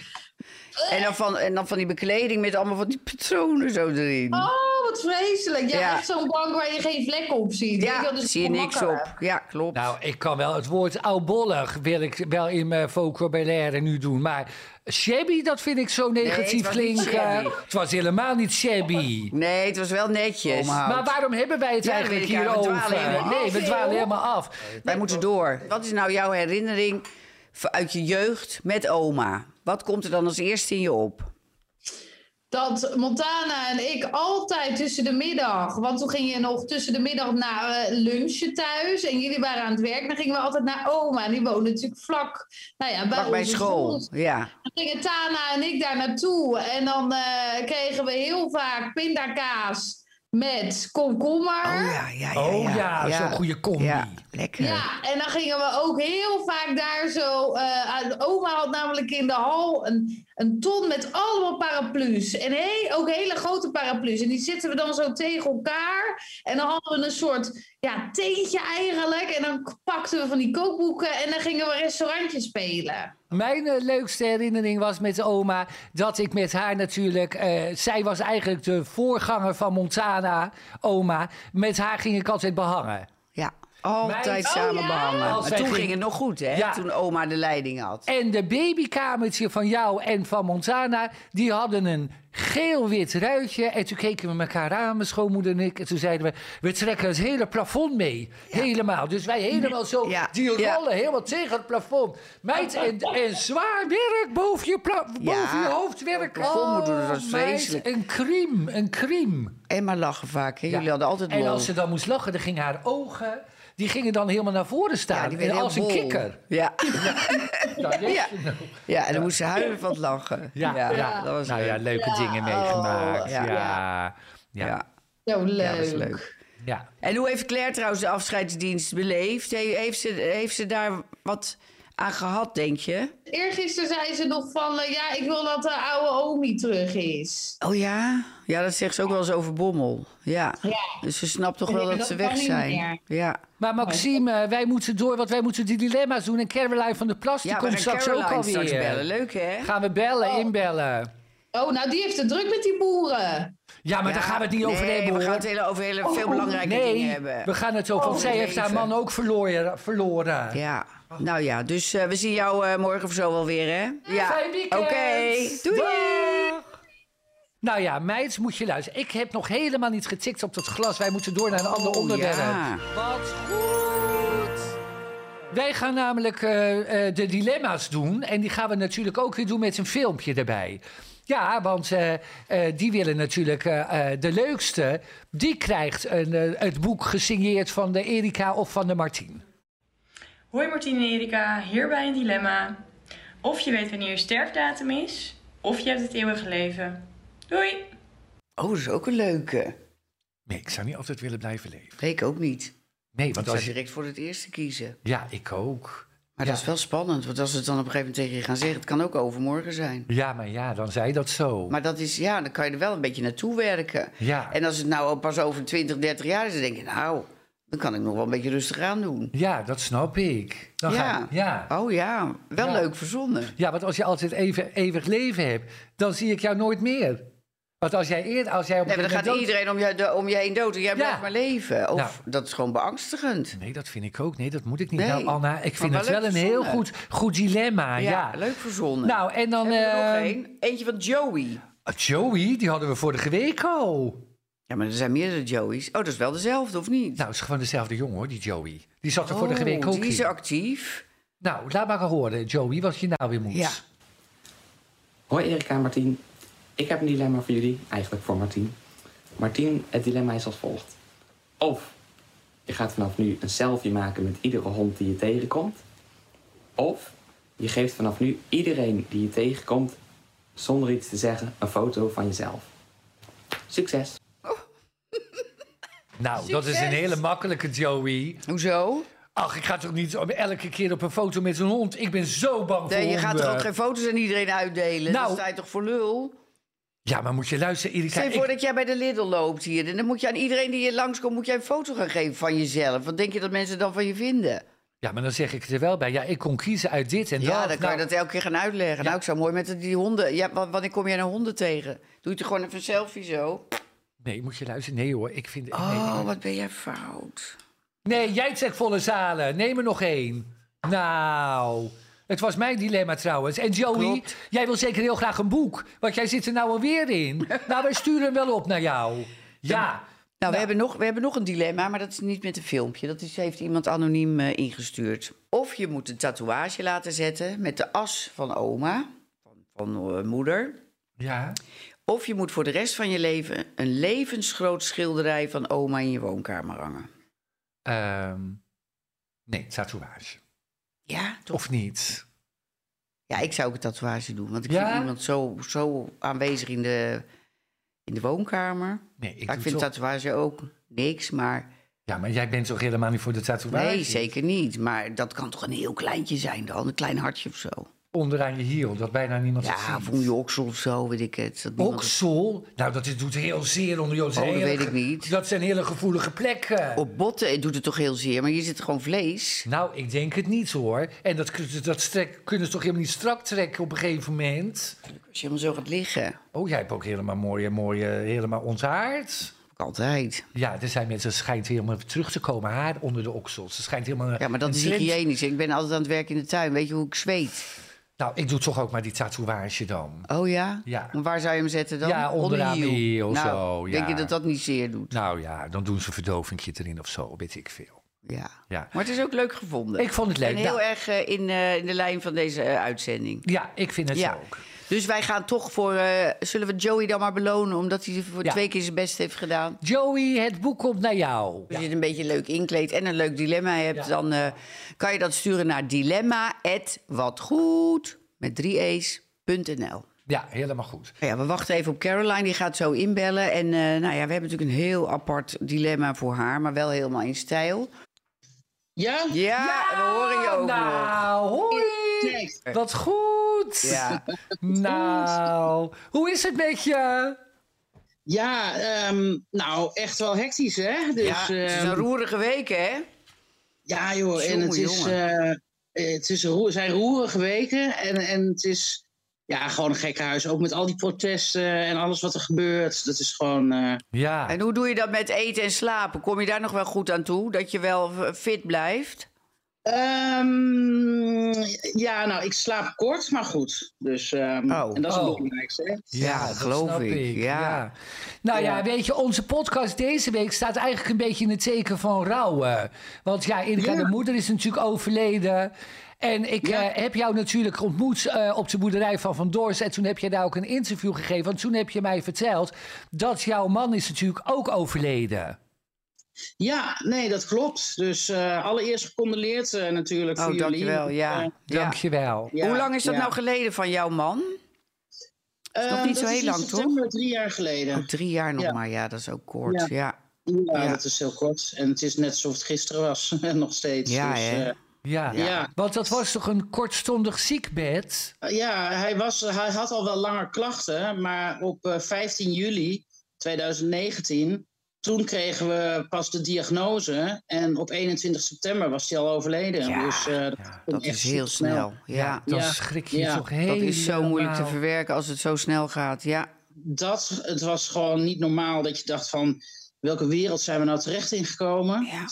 Speaker 2: En dan, van, en dan van die bekleding met allemaal van die patronen zo erin.
Speaker 3: Oh, wat vreselijk. Ja,
Speaker 2: Mm. Ja.
Speaker 3: echt zo'n bank waar je geen vlek op ziet. Weet je wel,
Speaker 2: ja,
Speaker 3: dus
Speaker 2: zie je niks
Speaker 3: makkelijk.
Speaker 2: op. Ja, klopt.
Speaker 1: Nou, ik kan wel het woord oudbollig wil ik wel in mijn vocabulaire nu doen. Maar shabby, dat vind ik zo negatief
Speaker 2: het was niet
Speaker 1: klinken.
Speaker 2: shabby. Oh,
Speaker 1: Het was helemaal niet shabby.
Speaker 2: Nee, het was wel netjes.
Speaker 1: Maar waarom hebben wij het
Speaker 2: Ja,
Speaker 1: eigenlijk
Speaker 2: weet ik, ja, we
Speaker 1: hierover?
Speaker 2: dwalen helemaal
Speaker 1: Nee,
Speaker 3: af,
Speaker 1: we dwalen
Speaker 3: joh.
Speaker 1: helemaal af.
Speaker 2: Wij moeten door. Wat is nou jouw herinnering v- uit je jeugd met oma? Wat komt er dan als eerste in je op?
Speaker 3: dat Montana en ik altijd tussen de middag, want toen ging je nog tussen de middag naar eh, lunchen thuis en jullie waren aan het werk, dan gingen we altijd naar oma en die woonde natuurlijk vlak, nou ja, bij,
Speaker 2: Pak bij
Speaker 3: onze
Speaker 2: school.
Speaker 3: school.
Speaker 2: Ja.
Speaker 3: Dan gingen Tana en ik daar naartoe en dan eh, kregen we heel vaak pindakaas met komkommer.
Speaker 2: Oh ja, ja, ja.
Speaker 1: Oh ja,
Speaker 2: ja.
Speaker 1: zo'n goede combi.
Speaker 2: Ja, lekker.
Speaker 3: Ja, en dan gingen we ook heel vaak daar zo. eh, aan- oma had namelijk in de hal een, een ton met allemaal paraplu's. En he- ook hele grote paraplu's. En die zitten we dan zo tegen elkaar. En dan hadden we een soort ja, teentje eigenlijk. En dan k- pakten we van die kookboeken en dan gingen we restaurantje spelen.
Speaker 1: Mijn eh, leukste herinnering was met oma dat ik met haar natuurlijk. eh, zij was eigenlijk de voorganger van Montana, oma. Met haar ging ik altijd behangen.
Speaker 2: Ja. Altijd
Speaker 1: Mijn-
Speaker 2: samen
Speaker 3: ja?
Speaker 2: behangen.
Speaker 1: Oh, Als
Speaker 2: Maar
Speaker 1: wij
Speaker 2: toen ging
Speaker 1: gingen-
Speaker 2: het nog goed, hè?
Speaker 1: Ja.
Speaker 2: Toen oma de leiding had.
Speaker 1: En de babykamertje van jou en van Montana, die hadden een geel-wit ruitje. En toen keken we elkaar aan, mijn schoonmoeder en ik. En toen zeiden we, we trekken het hele plafond mee. Helemaal. Dus wij helemaal zo,
Speaker 2: Ja,
Speaker 1: die
Speaker 2: ja.
Speaker 1: rollen helemaal tegen het plafond. Meid, en, en zwaar werk boven je, pla-
Speaker 2: Ja,
Speaker 1: boven je hoofdwerk. Oh,
Speaker 2: het plafond moet doen, dat is
Speaker 1: meid,
Speaker 2: vreselijk.
Speaker 1: een kriem, een kriem.
Speaker 2: En maar lachen vaak, hè? Jullie
Speaker 1: Ja.
Speaker 2: hadden altijd
Speaker 1: En
Speaker 2: lol.
Speaker 1: als ze dan moest lachen, dan gingen haar ogen... Die gingen dan helemaal naar voren
Speaker 2: Ja,
Speaker 1: staan.
Speaker 2: die
Speaker 1: en
Speaker 2: werden
Speaker 1: als
Speaker 2: heel
Speaker 1: een
Speaker 2: bol.
Speaker 1: kikker.
Speaker 2: Ja,
Speaker 1: Nou, jeetje,
Speaker 2: Ja.
Speaker 1: nou.
Speaker 2: ja en dan moest ze huilen van het lachen.
Speaker 1: Ja, ja,
Speaker 2: dat was
Speaker 1: nou
Speaker 2: leuk. Oh,
Speaker 1: ja, leuke dingen meegemaakt.
Speaker 2: ja.
Speaker 1: Ja. Ja.
Speaker 2: Ja.
Speaker 1: Ja.
Speaker 3: Zo leuk.
Speaker 2: dat is leuk. En hoe heeft Claire trouwens de afscheidsdienst beleefd? He- Heeft ze, heeft ze daar wat aan gehad, denk je?
Speaker 3: Eergisteren zei ze nog van, eh, ja, ik wil dat de oude Omi terug is.
Speaker 2: Oh ja? Ja, dat zegt ze ook wel eens over Bommel. Ja.
Speaker 3: Ja.
Speaker 2: Dus ze snapt toch
Speaker 3: Ik
Speaker 2: wel
Speaker 3: denk
Speaker 2: dat ze
Speaker 3: dat
Speaker 2: weg
Speaker 3: kan niet
Speaker 2: zijn.
Speaker 3: meer.
Speaker 2: Ja.
Speaker 1: Maar Maxime, eh, wij moeten door, want wij moeten die dilemma's doen. En Caroline van der Plas, die
Speaker 2: Ja, we
Speaker 1: komt
Speaker 2: gaan
Speaker 1: straks
Speaker 2: Caroline
Speaker 1: ook
Speaker 2: straks
Speaker 1: alweer.
Speaker 2: bellen. Leuk, hè?
Speaker 1: Gaan we bellen,
Speaker 3: Oh.
Speaker 1: inbellen.
Speaker 3: Oh, nou die heeft het druk met die boeren.
Speaker 1: Ja, maar
Speaker 2: Ja.
Speaker 1: daar gaan we het niet over
Speaker 2: nee,
Speaker 1: hebben,
Speaker 2: we
Speaker 1: hoor. Oh,
Speaker 2: gaan het hele, over hele, veel belangrijke
Speaker 1: nee,
Speaker 2: dingen hebben.
Speaker 1: we gaan het over, want
Speaker 2: Oh,
Speaker 1: zij heeft haar
Speaker 2: leven.
Speaker 1: man ook verloren. verloren.
Speaker 2: Ja. Nou ja, dus eh, we zien jou eh, morgen of zo wel weer, hè? Ja.
Speaker 1: Fijn weekend.
Speaker 2: Oké. Doei.
Speaker 1: Dag. Nou ja, meids, moet je luisteren. Ik heb nog helemaal niet getikt op dat glas. Wij moeten door naar een ander
Speaker 2: Oh,
Speaker 1: onderwerp.
Speaker 2: ja.
Speaker 1: Wat goed. Wij gaan namelijk eh, eh, de dilemma's doen. En die gaan we natuurlijk ook weer doen met een filmpje erbij. Ja, want eh, eh, die willen natuurlijk eh, eh, de leukste. Die krijgt een, eh, het boek gesigneerd van de Erika of van de Martien.
Speaker 5: Hoi Martine en Erika, hierbij een dilemma. Of je weet wanneer je sterfdatum is, of je hebt het eeuwige leven. Doei!
Speaker 2: Oh, dat is ook een leuke.
Speaker 1: Nee, ik zou niet altijd willen blijven leven.
Speaker 2: Nee, ik ook niet.
Speaker 1: Nee,
Speaker 2: Ik
Speaker 1: want
Speaker 2: zou
Speaker 1: als je...
Speaker 2: direct voor het eerste kiezen.
Speaker 1: Ja, ik ook.
Speaker 2: Maar dat is wel spannend, want als ze het dan op een gegeven moment tegen je gaan zeggen... het kan ook overmorgen zijn.
Speaker 1: Ja, maar ja, dan zei dat zo.
Speaker 2: Maar dat is, ja, dan kan je er wel een beetje naartoe werken.
Speaker 1: Ja.
Speaker 2: En als het nou pas over 20, 30 jaar is, dan denk je, nou, dan kan ik nog wel een beetje rustig aan doen.
Speaker 1: Ja, dat snap ik. Dan
Speaker 2: ja.
Speaker 1: Ga, ja.
Speaker 2: Oh ja, wel
Speaker 1: Ja.
Speaker 2: leuk verzonnen.
Speaker 1: ja, want als je altijd even eeuwig leven hebt, dan zie ik jou nooit meer. Want als jij eerder, als jij op
Speaker 2: Nee, maar dan gaat
Speaker 1: moment dood-
Speaker 2: iedereen om je, om je heen dood en jij blijft
Speaker 1: Ja.
Speaker 2: maar leven. Of
Speaker 1: Nou.
Speaker 2: dat is gewoon beangstigend.
Speaker 1: Nee, dat vind ik ook. Nee, dat moet ik niet.
Speaker 2: Nee.
Speaker 1: Nou, Anna, ik vind
Speaker 2: Maar
Speaker 1: het
Speaker 2: wel
Speaker 1: wel een
Speaker 2: leuk
Speaker 1: heel
Speaker 2: verzonnen.
Speaker 1: goed, goed dilemma. Ja,
Speaker 2: leuk verzonnen.
Speaker 1: Nou, en dan...
Speaker 2: Hebben we er nog
Speaker 1: eh,
Speaker 2: één? Eentje van Joey.
Speaker 1: Joey, die hadden we vorige week al.
Speaker 2: Ja, maar er zijn meerdere Joey's. Oh, dat is wel dezelfde, of niet?
Speaker 1: Nou, is gewoon dezelfde jongen, hoor, die Joey. Die zat er vorige
Speaker 2: Oh,
Speaker 1: week ook
Speaker 2: die is
Speaker 1: in.
Speaker 2: er actief.
Speaker 1: Nou, laat maar horen, Joey, wat je nou weer moet.
Speaker 2: Ja.
Speaker 6: Hoi Erika en Martien. Ik heb een dilemma voor jullie, eigenlijk voor Martien. Martien, het dilemma is als volgt. Of Je gaat vanaf nu een selfie maken met iedere hond die je tegenkomt. Of je geeft vanaf nu iedereen die je tegenkomt, zonder iets te zeggen, een foto van jezelf. Succes!
Speaker 1: Nou, dat is een
Speaker 2: Succes.
Speaker 1: hele makkelijke, Joey.
Speaker 2: Hoezo?
Speaker 1: Ach, ik ga toch niet zo- elke keer op een foto met een hond? Ik ben zo bang voor
Speaker 2: Nee, je gaat
Speaker 1: honden.
Speaker 2: toch ook geen foto's aan iedereen uitdelen?
Speaker 1: Nou.
Speaker 2: Dan sta je toch voor lul?
Speaker 1: Ja, maar moet je luisteren, Erika.
Speaker 2: Stel je
Speaker 1: ik-
Speaker 2: voor dat jij bij de Lidl loopt hier. En dan moet je aan iedereen die hier langskomt, moet jij een foto gaan geven van jezelf. Wat denk je dat mensen dan van je vinden?
Speaker 1: Ja, maar dan zeg ik het er wel bij. Ja, ik kon kiezen uit dit en dat.
Speaker 2: ja, dan kan
Speaker 1: Nou,
Speaker 2: je dat elke keer gaan uitleggen. Nou, ik zou mooi met die honden... Ja, wa- wanneer kom jij naar honden tegen? Doe je toch gewoon even een selfie zo?
Speaker 1: Nee, moet je luisteren? Nee hoor, ik vind... nee.
Speaker 2: Oh, wat ben jij fout.
Speaker 1: Nee, jij zegt volle zalen. Neem er nog één. Nou, het was mijn dilemma trouwens. En Joey,
Speaker 2: Klopt.
Speaker 1: jij wil zeker heel graag een boek. Want jij zit er nou alweer in. nou, wij sturen hem wel op naar jou. Ja.
Speaker 2: Nou, we, hebben nog, we hebben nog een dilemma, maar dat is niet met een filmpje. Dat is, heeft iemand anoniem eh, ingestuurd. Of je moet een tatoeage laten zetten met de as van oma, van, van eh, moeder.
Speaker 1: Ja.
Speaker 2: Of je moet voor de rest van je leven een levensgroot schilderij van oma in je woonkamer hangen.
Speaker 1: Ehm, nee, tatoeage.
Speaker 2: Ja, toch?
Speaker 1: Of niet?
Speaker 2: Ja, ik zou ook een tatoeage doen, want ik
Speaker 1: Ja?
Speaker 2: vind iemand zo, zo aanwezig in de, in de woonkamer.
Speaker 1: Nee, ik,
Speaker 2: Maar
Speaker 1: doe
Speaker 2: ik vind
Speaker 1: toch-
Speaker 2: tatoeage ook niks, maar
Speaker 1: Ja, maar jij bent toch helemaal niet voor de tatoeage?
Speaker 2: nee, zeker niet. Maar dat kan toch een heel kleintje zijn dan, een klein hartje of zo.
Speaker 1: Onderaan je hiel, dat bijna niemand het
Speaker 2: Ja,
Speaker 1: ziet.
Speaker 2: of om je oksel of zo, weet ik het. Dat niemand-
Speaker 1: Oksel? Nou, dat is- doet heel zeer onder jou.
Speaker 2: Oh, dat weet ik niet.
Speaker 1: Dat zijn hele gevoelige plekken.
Speaker 2: Op botten het doet het toch heel zeer, maar hier zit gewoon vlees.
Speaker 1: Nou, ik denk het niet hoor. En dat, kun- dat strek, kunnen ze toch helemaal niet strak trekken op een gegeven moment?
Speaker 2: Als je helemaal zo gaat liggen, heb
Speaker 1: Oh, jij hebt ook helemaal mooie, mooie, helemaal onthaard.
Speaker 2: ik altijd.
Speaker 1: Ja, er zijn mensen, ze schijnt helemaal terug te komen, haar onder de oksels. Ze schijnt helemaal...
Speaker 2: Ja, maar dat
Speaker 1: een
Speaker 2: is
Speaker 1: trend-
Speaker 2: hygiënisch. Ik ben altijd aan het werk in de tuin. Weet je hoe ik zweet?
Speaker 1: Nou, ik doe toch ook maar die tatoeage dan.
Speaker 2: Oh ja?
Speaker 1: Ja.
Speaker 2: Maar waar zou je hem zetten dan?
Speaker 1: Ja, onderaan
Speaker 2: je
Speaker 1: de hiel,
Speaker 2: Nou,
Speaker 1: zo, ja.
Speaker 2: denk je dat dat niet zeer doet?
Speaker 1: Nou ja, dan doen ze een verdovingje erin of zo, weet ik veel.
Speaker 2: Ja.
Speaker 1: Ja.
Speaker 2: Maar het is ook leuk gevonden.
Speaker 1: Ik vond het leuk.
Speaker 2: En heel
Speaker 1: Nou,
Speaker 2: erg eh, in, eh, in de lijn van deze eh, uitzending.
Speaker 1: Ja, ik vind het
Speaker 2: Ja.
Speaker 1: ook.
Speaker 2: Dus wij gaan toch voor... eh, zullen we Joey dan maar belonen... omdat hij voor
Speaker 1: Ja.
Speaker 2: twee keer zijn best heeft gedaan?
Speaker 1: Joey, het boek komt naar jou.
Speaker 2: Als je het een beetje leuk inkleedt en een leuk dilemma hebt, dan eh, kan je dat sturen naar dilemma@watgoed met 3e's.nl.
Speaker 1: Ja, helemaal goed.
Speaker 2: Nou ja, we wachten even op Caroline, die gaat zo inbellen. En eh, nou ja, we hebben natuurlijk een heel apart dilemma voor haar, maar wel helemaal in stijl.
Speaker 7: Ja?
Speaker 2: Ja, we horen je ook nog.
Speaker 1: Nou, hoi!
Speaker 7: Kijk,
Speaker 1: Wat goed!
Speaker 2: Ja.
Speaker 1: Nou, hoe is het met je?
Speaker 7: ja, ehm, nou, echt wel hectisch, hè? Dus,
Speaker 2: ja, het is
Speaker 7: ehm,
Speaker 2: een roerige week, hè?
Speaker 7: ja joh, en
Speaker 2: Jongen,
Speaker 7: het is, eh, het is roer, zijn roerige weken. En, en het is ja, gewoon een gekke huis. Ook met al die protesten en alles wat er gebeurt. Dat is gewoon... eh,
Speaker 1: Ja.
Speaker 2: En hoe doe je dat met eten en slapen? Kom je daar nog wel goed aan toe, dat je wel eh, fit blijft?
Speaker 7: ehm, ja, nou, ik slaap kort, maar goed. Dus, ehm,
Speaker 2: Oh.
Speaker 7: en dat is
Speaker 1: Oh.
Speaker 7: het belangrijkste, hè?
Speaker 2: Ja,
Speaker 1: dat
Speaker 2: geloof
Speaker 1: snap
Speaker 2: ik, ja.
Speaker 1: Nou ja.
Speaker 7: Ja.
Speaker 1: weet je, onze podcast deze week staat eigenlijk een beetje in het teken van rouwen. Want ja, Erika,
Speaker 7: Ja.
Speaker 1: de moeder is natuurlijk overleden. En ik
Speaker 7: Ja.
Speaker 1: eh, heb jou natuurlijk ontmoet eh, op de boerderij van Van Doors. En toen heb je daar ook een interview gegeven. Want toen heb je mij verteld dat jouw man is natuurlijk ook overleden.
Speaker 7: Ja, nee, dat klopt. Dus eh, allereerst gecondoleerd eh, natuurlijk voor
Speaker 2: Oh,
Speaker 7: jullie.
Speaker 2: dankjewel, ja.
Speaker 7: Eh,
Speaker 2: ja.
Speaker 1: Dankjewel.
Speaker 7: ja,
Speaker 2: Hoe lang is dat
Speaker 7: ja.
Speaker 2: nou geleden van jouw man?
Speaker 7: Eh,
Speaker 2: nog niet zo
Speaker 7: dat
Speaker 2: heel
Speaker 7: in
Speaker 2: lang, toch?
Speaker 7: september drie jaar geleden.
Speaker 2: Oh, drie jaar nog
Speaker 7: Ja.
Speaker 2: maar, ja, dat is ook kort.
Speaker 7: Ja.
Speaker 2: ja.
Speaker 7: Ja,
Speaker 2: Ja.
Speaker 7: dat is heel kort. En het is net alsof het gisteren was, eh, nog steeds.
Speaker 2: Ja,
Speaker 7: dus,
Speaker 2: hè?
Speaker 7: eh,
Speaker 1: Ja.
Speaker 7: Ja.
Speaker 1: want dat was toch een kortstondig ziekbed?
Speaker 7: ja hij, was, hij had al wel langer klachten, maar op eh, 15 juli 2019, toen kregen we pas de diagnose. En op 21 september was hij al overleden.
Speaker 2: Ja,
Speaker 7: dus, eh, dat, ging
Speaker 2: Dat
Speaker 7: echt
Speaker 2: is heel snel. Ja.
Speaker 1: Dan
Speaker 7: Ja.
Speaker 1: schrik je
Speaker 7: Ja.
Speaker 1: toch
Speaker 2: Dat
Speaker 1: helemaal.
Speaker 2: is zo moeilijk te verwerken als het zo snel gaat. Ja.
Speaker 7: Dat, het was gewoon niet normaal dat je dacht van... welke wereld zijn we nou terecht ingekomen?
Speaker 2: Ja.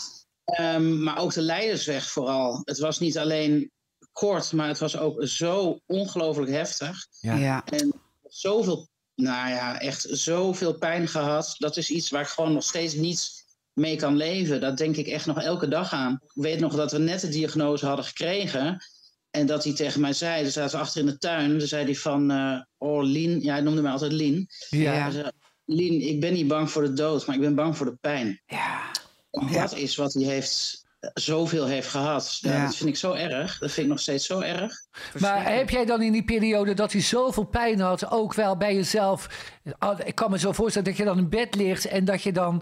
Speaker 7: Ehm, maar ook de leidersweg vooral. Het was niet alleen kort, maar het was ook zo ongelooflijk heftig.
Speaker 1: Ja.
Speaker 2: Ja.
Speaker 7: En zoveel, nou ja, echt zoveel pijn gehad. Dat is iets waar ik gewoon nog steeds niet mee kan leven. Dat denk ik echt nog elke dag aan. Ik weet nog dat we net de diagnose hadden gekregen. En dat hij tegen mij zei, dan zaten we achter in de tuin. Toen zei hij van, eh, oh Lien, ja hij noemde mij altijd Lien.
Speaker 1: Ja.
Speaker 2: Ja.
Speaker 7: Hij zei, Lien, ik ben niet bang voor de dood, maar ik ben bang voor de pijn.
Speaker 2: Ja.
Speaker 7: Oh, dat is wat hij heeft, eh, zoveel heeft gehad. Ja,
Speaker 2: Ja.
Speaker 7: Dat vind ik zo erg. Dat vind ik nog steeds zo erg.
Speaker 1: Maar heb jij dan in die periode dat hij zoveel pijn had, ook wel bij jezelf. ah, Ik kan me zo voorstellen dat je dan in bed ligt en dat je dan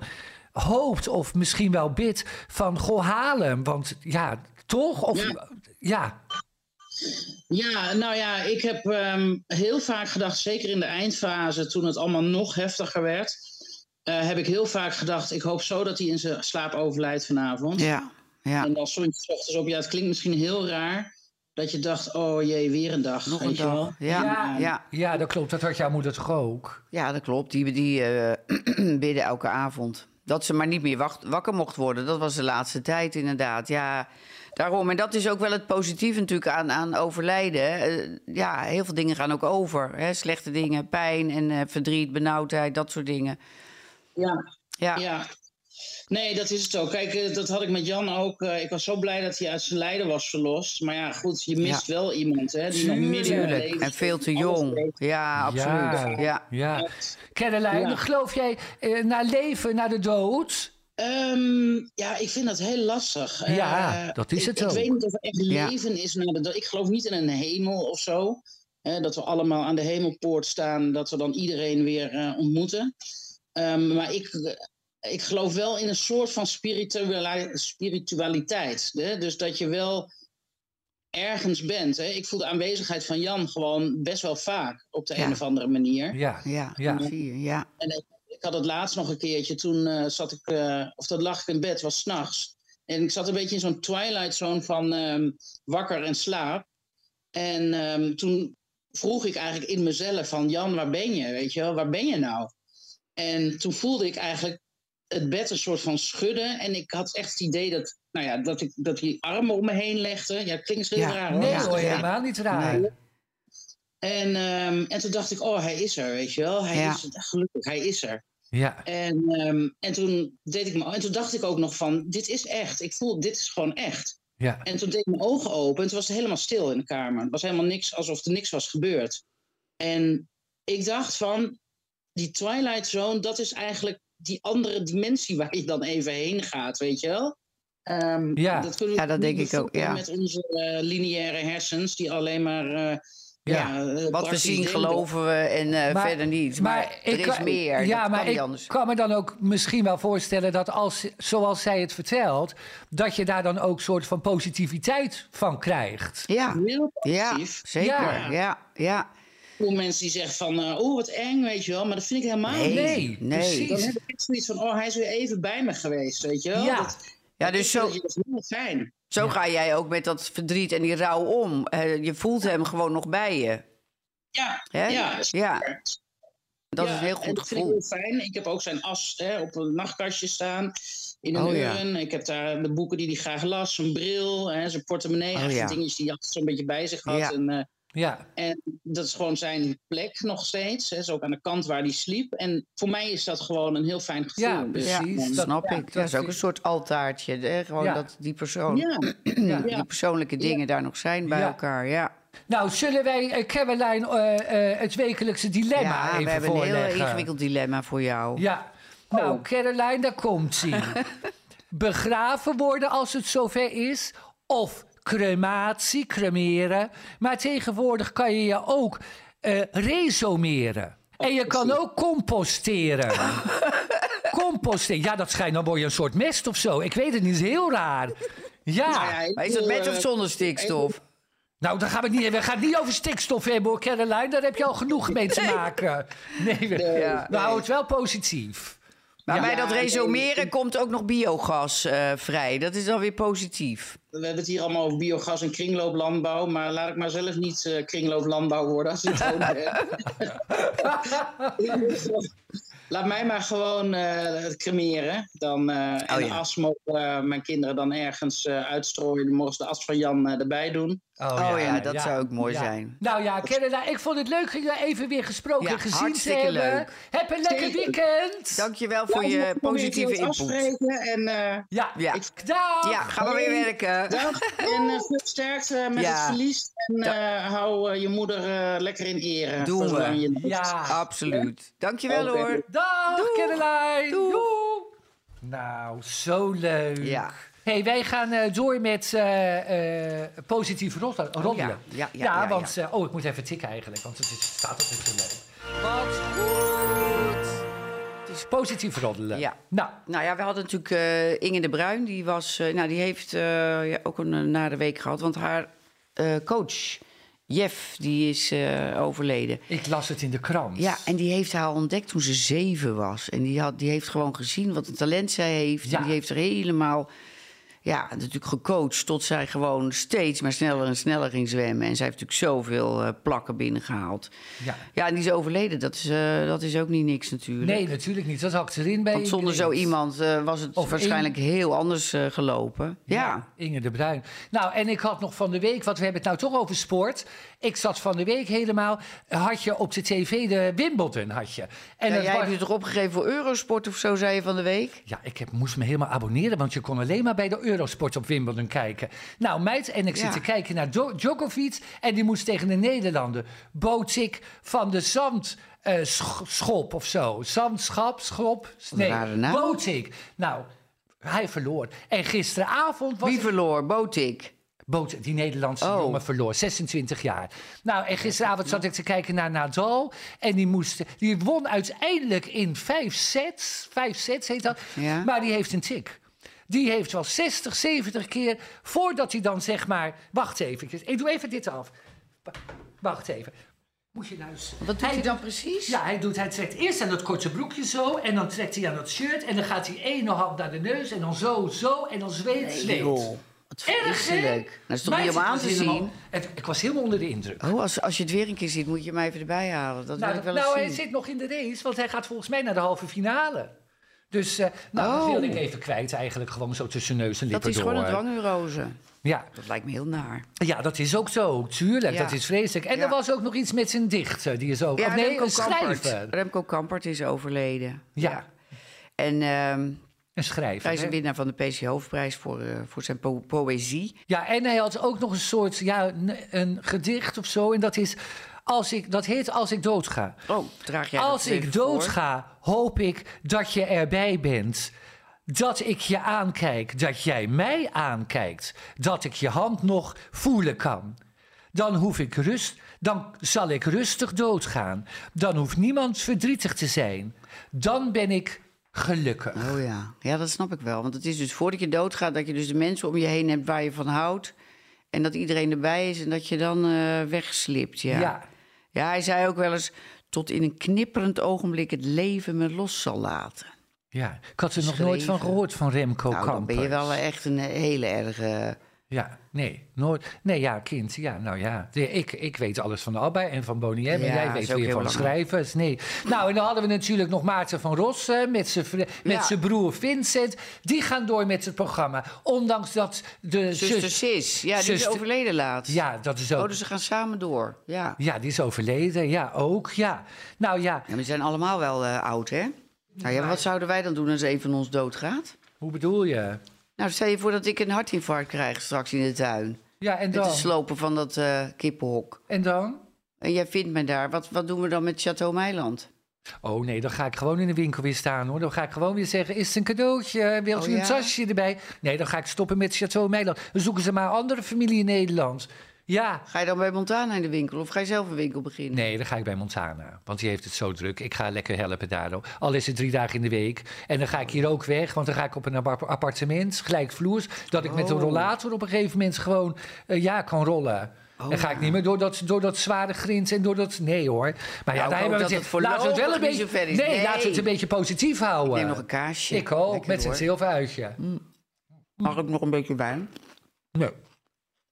Speaker 1: hoopt of misschien wel bidt van goh, haal hem. Want ja, toch? Of, ja.
Speaker 7: Ja. Ja, nou ja, ik heb ehm, heel vaak gedacht, zeker in de eindfase, toen het allemaal nog heftiger werd, eh, heb ik heel vaak gedacht, ik hoop zo dat hij in zijn slaap overlijdt vanavond.
Speaker 2: Ja, ja.
Speaker 7: En dan stond je 's ochtends op, ja, het klinkt misschien heel raar, dat je dacht, oh jee, weer een dag.
Speaker 2: Nog
Speaker 7: weet
Speaker 2: een
Speaker 7: je wel.
Speaker 2: dag. Ja, ja.
Speaker 1: ja, dat klopt. Dat had jouw moeder toch ook?
Speaker 2: ja, dat klopt. Die, die eh, bidden elke avond. Dat ze maar niet meer wacht, wakker mocht worden. Dat was de laatste tijd inderdaad. Ja, daarom. En dat is ook wel het positieve natuurlijk aan, aan overlijden. Eh, ja, heel veel dingen gaan ook over. Hè? Slechte dingen, pijn en eh, verdriet, benauwdheid, dat soort dingen.
Speaker 7: Ja,
Speaker 2: Ja, ja.
Speaker 7: Ja. Nee, dat is het ook. Kijk, eh, dat had ik met Jan ook. eh, ik was zo blij dat hij uit zijn lijden was verlost. Maar ja, goed, je mist wel iemand, hè? Die nog midden in het
Speaker 1: Tuurlijk.
Speaker 7: leven
Speaker 2: en veel te
Speaker 7: alles
Speaker 2: jong.
Speaker 7: weet.
Speaker 2: Ja,
Speaker 1: Ja.
Speaker 2: absoluut. Ja.
Speaker 1: Ja. Caroline,
Speaker 7: Ja.
Speaker 1: geloof jij eh, naar leven, naar de dood?
Speaker 7: Ehm, ja, ik vind dat heel lastig.
Speaker 1: Ja,
Speaker 7: Eh,
Speaker 1: dat is
Speaker 7: ik-
Speaker 1: het
Speaker 7: Ik,
Speaker 1: ook.
Speaker 7: weet niet of er echt
Speaker 2: Ja.
Speaker 7: leven is. Naar de, dood. ik geloof niet in een hemel of zo. Eh, dat we allemaal aan de hemelpoort staan. Dat we dan iedereen weer eh, ontmoeten. Ehm, maar ik, eh, ik geloof wel in een soort van spirituali- spiritualiteit. Hè? Dus dat je wel ergens bent. Hè? Ik voel de aanwezigheid van Jan gewoon best wel vaak. Op de
Speaker 2: Ja.
Speaker 7: een of andere manier.
Speaker 1: Ja.
Speaker 2: Ja,
Speaker 1: Ja.
Speaker 2: dat zie je. Ja.
Speaker 7: Ik had het laatst nog een keertje. Toen eh, zat ik, eh, of dat lag ik in bed, was s'nachts. En ik zat een beetje in zo'n twilight zone van ehm, wakker en slaap. En ehm, toen vroeg ik eigenlijk in mezelf van Jan, waar ben je? Weet je wel, waar ben je nou? En toen voelde ik eigenlijk het bed een soort van schudden. En ik had echt het idee dat, nou ja, dat, ik, dat die armen om me heen legde. Ja, het klinkt heel
Speaker 2: Ja,
Speaker 7: raar hoor.
Speaker 1: Nee
Speaker 2: Ja.
Speaker 1: hoor,
Speaker 2: Ja.
Speaker 1: helemaal niet raar.
Speaker 2: dus Nee.
Speaker 7: En, ehm, en toen dacht ik, oh, hij is er, weet je wel. Hij
Speaker 2: Ja.
Speaker 7: is er, gelukkig, hij is er.
Speaker 1: Ja.
Speaker 7: En, ehm, en toen deed ik me, en toen dacht ik ook nog van, dit is echt. Ik voel, dit is gewoon echt.
Speaker 1: Ja.
Speaker 7: En toen deed ik mijn ogen open en toen was het helemaal stil in de kamer. Het was helemaal niks, alsof er niks was gebeurd. En ik dacht van, die Twilight Zone, dat is eigenlijk die andere dimensie waar je dan even heen gaat, weet je wel? Ehm,
Speaker 1: Ja.
Speaker 7: kunnen
Speaker 2: Ja, dat
Speaker 7: niet
Speaker 2: denk ik ook,
Speaker 7: bevatten
Speaker 2: ja.
Speaker 7: Met onze eh, lineaire hersens, die alleen maar... eh,
Speaker 1: Ja.
Speaker 7: ja, eh,
Speaker 2: Wat we
Speaker 7: praktisch
Speaker 2: zien
Speaker 7: denken.
Speaker 2: geloven we en eh,
Speaker 1: Maar-
Speaker 2: verder niet. Maar, er is
Speaker 1: kan-
Speaker 2: meer.
Speaker 1: Ja, maar
Speaker 2: dat kan
Speaker 1: ik
Speaker 2: niet anders.
Speaker 1: kan me dan ook misschien wel voorstellen dat als, zoals zij het vertelt, dat je daar dan ook soort van positiviteit van krijgt.
Speaker 2: Ja,
Speaker 7: Heel
Speaker 2: ja
Speaker 7: positief.
Speaker 2: zeker. Ja,
Speaker 1: Ja.
Speaker 2: ja.
Speaker 7: veel mensen die zeggen van, eh, oh wat eng, weet je wel. Maar dat vind ik helemaal
Speaker 2: Nee,
Speaker 7: niet.
Speaker 1: nee,
Speaker 2: nee.
Speaker 7: Dan
Speaker 1: precies.
Speaker 7: heb ik echt zoiets van, oh hij is weer even bij me geweest, weet je wel.
Speaker 1: Ja.
Speaker 7: Dat,
Speaker 2: Ja, dus
Speaker 7: dat
Speaker 2: zo,
Speaker 7: vind ik heel fijn.
Speaker 2: zo ga jij ook met dat verdriet en die rouw om. Eh, je voelt hem gewoon nog bij je.
Speaker 7: Ja,
Speaker 2: Hè?
Speaker 7: ja.
Speaker 2: ja, dat is een heel
Speaker 7: en
Speaker 2: goed
Speaker 7: dat vind
Speaker 2: gevoel.
Speaker 7: ik heel fijn. Ik heb ook zijn as hè, op een nachtkastje staan. In een
Speaker 2: Oh, ja.
Speaker 7: urn. Ik heb daar de boeken die hij graag las. Zijn bril, hè, zijn portemonnee.
Speaker 2: Oh,
Speaker 7: echt
Speaker 2: ja.
Speaker 7: die dingetjes die hij altijd zo'n beetje bij zich had.
Speaker 2: Ja.
Speaker 7: En, eh,
Speaker 1: Ja,
Speaker 7: en dat is gewoon zijn plek nog steeds. Hè. is ook aan de kant waar hij sliep. En voor mij is dat gewoon een heel fijn gevoel.
Speaker 1: ja,
Speaker 7: Dus,
Speaker 1: precies.
Speaker 2: Dat snap ik. Dat, is ook een soort altaartje. Hè? Gewoon
Speaker 1: Ja.
Speaker 2: dat die, persoon,
Speaker 7: ja.
Speaker 2: die persoonlijke dingen daar nog zijn bij
Speaker 1: Ja.
Speaker 2: elkaar. Ja,
Speaker 1: Nou, zullen wij eh, Caroline eh, eh, het wekelijkse dilemma
Speaker 2: ja
Speaker 1: even
Speaker 2: we hebben een
Speaker 1: voorleggen?
Speaker 2: heel ingewikkeld dilemma voor jou.
Speaker 1: Ja. Nou, Caroline, daar komt ie. Begraven worden als het zover is. Of crematie, cremeren. Maar tegenwoordig kan je je ook eh, resomeren. En je kan ook composteren. composteren. Ja, dat schijnt dan word je een soort mest of zo. Ik weet het niet, het is heel raar.
Speaker 7: Nou
Speaker 1: Ja,
Speaker 7: ja, ik
Speaker 2: Maar is dat
Speaker 7: bedoel,
Speaker 2: met of
Speaker 7: eh,
Speaker 2: zonder stikstof?
Speaker 1: nou, dan gaan we het niet, we gaan het niet over stikstof hebben hoor, Caroline. Daar heb je al genoeg mee te maken. Nee, we,
Speaker 2: Ja.
Speaker 1: we houden het wel positief.
Speaker 2: Maar bij
Speaker 7: Ja,
Speaker 2: dat
Speaker 7: nee,
Speaker 2: resumeren komt ook nog biogas eh, vrij. Dat is dan weer positief.
Speaker 7: We hebben het hier allemaal over biogas en kringlooplandbouw. Maar laat ik maar zelf niet eh, kringlooplandbouw worden als ik het ook ben. laat mij maar gewoon eh, het cremeren. Dan, eh en
Speaker 2: Oh, ja.
Speaker 7: as mogen eh, mijn kinderen dan ergens eh, uitstrooien. Dan mogen ze de as van Jan eh, erbij doen.
Speaker 2: Oh ja, dat zou ook mooi zijn.
Speaker 1: Nou ja, Canada, ik vond het leuk jullie even weer gesproken
Speaker 2: Ja,
Speaker 1: en gezien te
Speaker 2: hartstikke
Speaker 1: hebben.
Speaker 2: leuk.
Speaker 1: Heb een lekker
Speaker 7: Zeker.
Speaker 1: weekend.
Speaker 2: Dankjewel voor je positieve input.
Speaker 7: afspreken en, eh,
Speaker 1: Ja,
Speaker 2: Ja.
Speaker 1: dag.
Speaker 2: Ja, gaan we weer werken.
Speaker 7: dag. en eh, veel sterkte met
Speaker 2: Ja.
Speaker 7: het verlies. En eh, hou eh, je moeder eh, lekker in ere.
Speaker 2: Doen
Speaker 7: voor
Speaker 2: we.
Speaker 7: zolang je leeft.
Speaker 1: Ja.
Speaker 2: Absoluut. Dankjewel
Speaker 7: Oké.
Speaker 2: hoor.
Speaker 1: Dag,
Speaker 2: Doeg.
Speaker 1: Caroline.
Speaker 2: Doeg.
Speaker 1: Doeg. Nou, zo leuk.
Speaker 2: Ja.
Speaker 1: hey, wij gaan eh, door met eh, eh, positief roddelen.
Speaker 2: Oh, ja,
Speaker 1: roddelen.
Speaker 2: ja, ja, ja,
Speaker 1: want... eh, oh, ik moet even tikken eigenlijk, want het is, staat altijd zo leuk. Wat goed! is positief roddelen.
Speaker 2: Ja.
Speaker 1: Nou,
Speaker 2: Nou ja, we hadden natuurlijk eh, Inge de Bruin. Die, was, eh, nou, die heeft eh, ja, ook een eh, nare week gehad. Want haar eh, coach, Jeff, die is eh, overleden.
Speaker 1: ik las het in de krant.
Speaker 2: Ja, en die heeft haar ontdekt toen ze zeven was. En die, had, die heeft gewoon gezien wat een talent zij heeft.
Speaker 1: Ja.
Speaker 2: En die heeft er helemaal, ja, natuurlijk gecoacht. Tot zij gewoon steeds maar sneller en sneller ging zwemmen. En zij heeft natuurlijk zoveel eh, plakken binnengehaald.
Speaker 1: Ja.
Speaker 2: Ja, en die is overleden. Dat is, eh, dat is ook niet niks natuurlijk.
Speaker 1: Nee, natuurlijk niet. Dat hakt erin bij
Speaker 2: Want zonder zo
Speaker 1: iedereen.
Speaker 2: iemand eh, was het
Speaker 1: Of
Speaker 2: waarschijnlijk heel anders eh, gelopen. Ja.
Speaker 1: Inge de Bruin. Nou, en ik had nog van de week, want we hebben het nou toch over sport. Ik zat van de week helemaal, had je op de tv de Wimbledon, had je. En
Speaker 2: En
Speaker 1: dat
Speaker 2: jij
Speaker 1: was-
Speaker 2: hebt je toch opgegeven voor Eurosport of zo, zei je van de week?
Speaker 1: Ja, ik heb, moest me helemaal abonneren, want je kon alleen maar bij de Eurosport op Wimbledon kijken. Nou, meid, en ik zit
Speaker 2: Ja.
Speaker 1: te kijken naar Jo- Djokovic en die moest tegen de Nederlander. Bootsik van de Zand. eh, sch- schop of zo. Zandschap, schop. Nee,
Speaker 2: rare naam.
Speaker 1: Bootsik. Nou, hij verloor. En gisteravond was
Speaker 2: Wie
Speaker 1: ik-
Speaker 2: verloor? Botik.
Speaker 1: Boot, die Nederlandse
Speaker 2: Oh.
Speaker 1: jongen verloor, 26 jaar. Nou, en gisteravond zat ik te kijken naar Nadal. En die, moest, die won uiteindelijk in vijf sets. Vijf sets heet dat.
Speaker 2: Ja.
Speaker 1: Maar die heeft een tik. Die heeft wel 60, 70 keer voordat hij dan zeg maar... Wacht eventjes, ik doe even dit af. Wa- Wacht even. Moet je luisteren.
Speaker 2: Wat doet hij dan precies?
Speaker 1: Ja, hij, doet, hij trekt eerst aan dat korte broekje zo. En dan trekt hij aan dat shirt. En dan gaat hij ene hand naar de neus. En dan zo, zo. En dan zweet, zweet.
Speaker 2: Wat
Speaker 1: Erg hè?
Speaker 2: vreselijk. Nou, Dat is toch
Speaker 1: Meid,
Speaker 2: niet om
Speaker 1: ik
Speaker 2: aan
Speaker 1: was
Speaker 2: te
Speaker 1: helemaal-
Speaker 2: zien?
Speaker 1: het- ik was helemaal onder de indruk.
Speaker 2: Oh, als, als je het weer een keer ziet, moet je hem even erbij halen. Dat wil
Speaker 1: nou,
Speaker 2: ik wel
Speaker 1: nou, hij
Speaker 2: eens zien.
Speaker 1: zit nog in de race, want hij gaat volgens mij naar de halve finale. Dus eh, nou, dat
Speaker 2: Oh.
Speaker 1: wilde ik even kwijt eigenlijk, gewoon zo tussen neus en
Speaker 2: Dat
Speaker 1: lippen
Speaker 2: is
Speaker 1: door.
Speaker 2: gewoon een dwangneurose.
Speaker 1: ja.
Speaker 2: Dat lijkt me heel naar.
Speaker 1: ja, dat is ook zo, tuurlijk,
Speaker 2: Ja.
Speaker 1: dat is vreselijk. En
Speaker 2: Ja.
Speaker 1: er was ook nog iets met zijn dichter, die is ook... of nee, een schrijver.
Speaker 2: Kampert. Remco Kampert is overleden.
Speaker 1: Ja.
Speaker 2: En ehm,
Speaker 1: Een schrijver.
Speaker 2: hij is
Speaker 1: hè?
Speaker 2: een winnaar van de PC Hoofdprijs voor, eh, voor zijn po- poëzie.
Speaker 1: Ja, en hij had ook nog een soort, ja, een, een gedicht of zo. En dat is, als ik, dat heet Als ik doodga.
Speaker 2: Oh, draag jij dat
Speaker 1: Als
Speaker 2: eens even
Speaker 1: ik
Speaker 2: voor?
Speaker 1: doodga, hoop ik dat je erbij bent. Dat ik je aankijk, dat jij mij aankijkt. Dat ik je hand nog voelen kan. Dan hoef ik rust, dan zal ik rustig doodgaan. Dan hoeft niemand verdrietig te zijn. Dan ben ik gelukkig.
Speaker 2: Oh ja. ja, dat snap ik wel. Want het is dus voordat je doodgaat dat je dus de mensen om je heen hebt waar je van houdt. En dat iedereen erbij is en dat je dan eh, wegslipt. Ja.
Speaker 1: Ja.
Speaker 2: Ja, hij zei ook wel eens tot in een knipperend ogenblik het leven me los zal laten.
Speaker 1: Ja, ik had er nog nooit van
Speaker 2: Geschreven.
Speaker 1: gehoord van Remco
Speaker 2: Nou, dan ben je
Speaker 1: Kampert.
Speaker 2: wel echt een hele erge...
Speaker 1: Ja, nee, nooit. Nee, ja, kind. Ja, nou ja. De- Ik, ik weet alles van Abba en van Bonnie M.
Speaker 2: Ja,
Speaker 1: en jij
Speaker 2: is
Speaker 1: weet
Speaker 2: ook
Speaker 1: weer
Speaker 2: heel
Speaker 1: van
Speaker 2: belangrijk.
Speaker 1: schrijvers. Nee. Nou, en dan hadden we natuurlijk nog Maarten van Rossen met zijn vri- met
Speaker 2: Ja.
Speaker 1: zijn broer Vincent. Die gaan door met het programma. Ondanks dat de
Speaker 2: Zuster
Speaker 1: zus...
Speaker 2: Sis, ja, die is
Speaker 1: zuster-
Speaker 2: overleden laatst.
Speaker 1: Ja, dat is ook...
Speaker 2: Oh, dus ze gaan samen door. Ja, ja
Speaker 1: Ja, die is overleden. Ja, ook. Ja. Nou ja,
Speaker 2: maar die zijn allemaal wel eh, oud, hè? Nou ja, wat zouden wij dan doen als een van ons doodgaat?
Speaker 1: hoe bedoel je?
Speaker 2: Nou, stel je voor dat ik een hartinfarct krijg straks in de tuin.
Speaker 1: Ja, en
Speaker 2: Met
Speaker 1: dan?
Speaker 2: het slopen van dat eh, kippenhok.
Speaker 1: En dan?
Speaker 2: En jij vindt me daar. Wat, wat doen we dan met Chateau Meiland?
Speaker 1: Oh nee, dan ga ik gewoon in de winkel weer staan hoor. Dan ga ik gewoon weer zeggen: Is het een cadeautje? Wilt u
Speaker 2: Oh,
Speaker 1: een
Speaker 2: ja?
Speaker 1: tasje erbij? Nee, dan ga ik stoppen met Chateau Meiland. Dan zoeken ze maar een andere familie in Nederland. Ja.
Speaker 2: Ga je dan bij Montana in de winkel of ga je zelf een winkel beginnen?
Speaker 1: Nee, dan ga ik bij Montana. Want die heeft het zo druk. Ik ga lekker helpen daardoor. Al is het drie dagen in de week. En dan ga ik hier ook weg. Want dan ga ik op een aba- appartement, gelijkvloers. Dat ik met een
Speaker 2: Oh.
Speaker 1: rollator op een gegeven moment gewoon eh, ja, kan rollen.
Speaker 2: Oh.
Speaker 1: en ga ik niet meer door dat, door dat zware grins en door dat... Nee hoor. Maar ja,
Speaker 2: Nou,
Speaker 1: daar
Speaker 2: ik hoop
Speaker 1: hebben we
Speaker 2: dat
Speaker 1: het
Speaker 2: het
Speaker 1: Laten we het wel een
Speaker 2: voorlopig
Speaker 1: beetje...
Speaker 2: niet zo ver is.
Speaker 1: Nee,
Speaker 2: Nee.
Speaker 1: laten we het een beetje positief houden.
Speaker 2: Neem nog een kaarsje.
Speaker 1: Ik ook,
Speaker 2: Lekker
Speaker 1: met
Speaker 2: hoor. Mm.
Speaker 1: zijn zilveruitje.
Speaker 2: Mag ik nog een beetje wijn?
Speaker 1: Nee.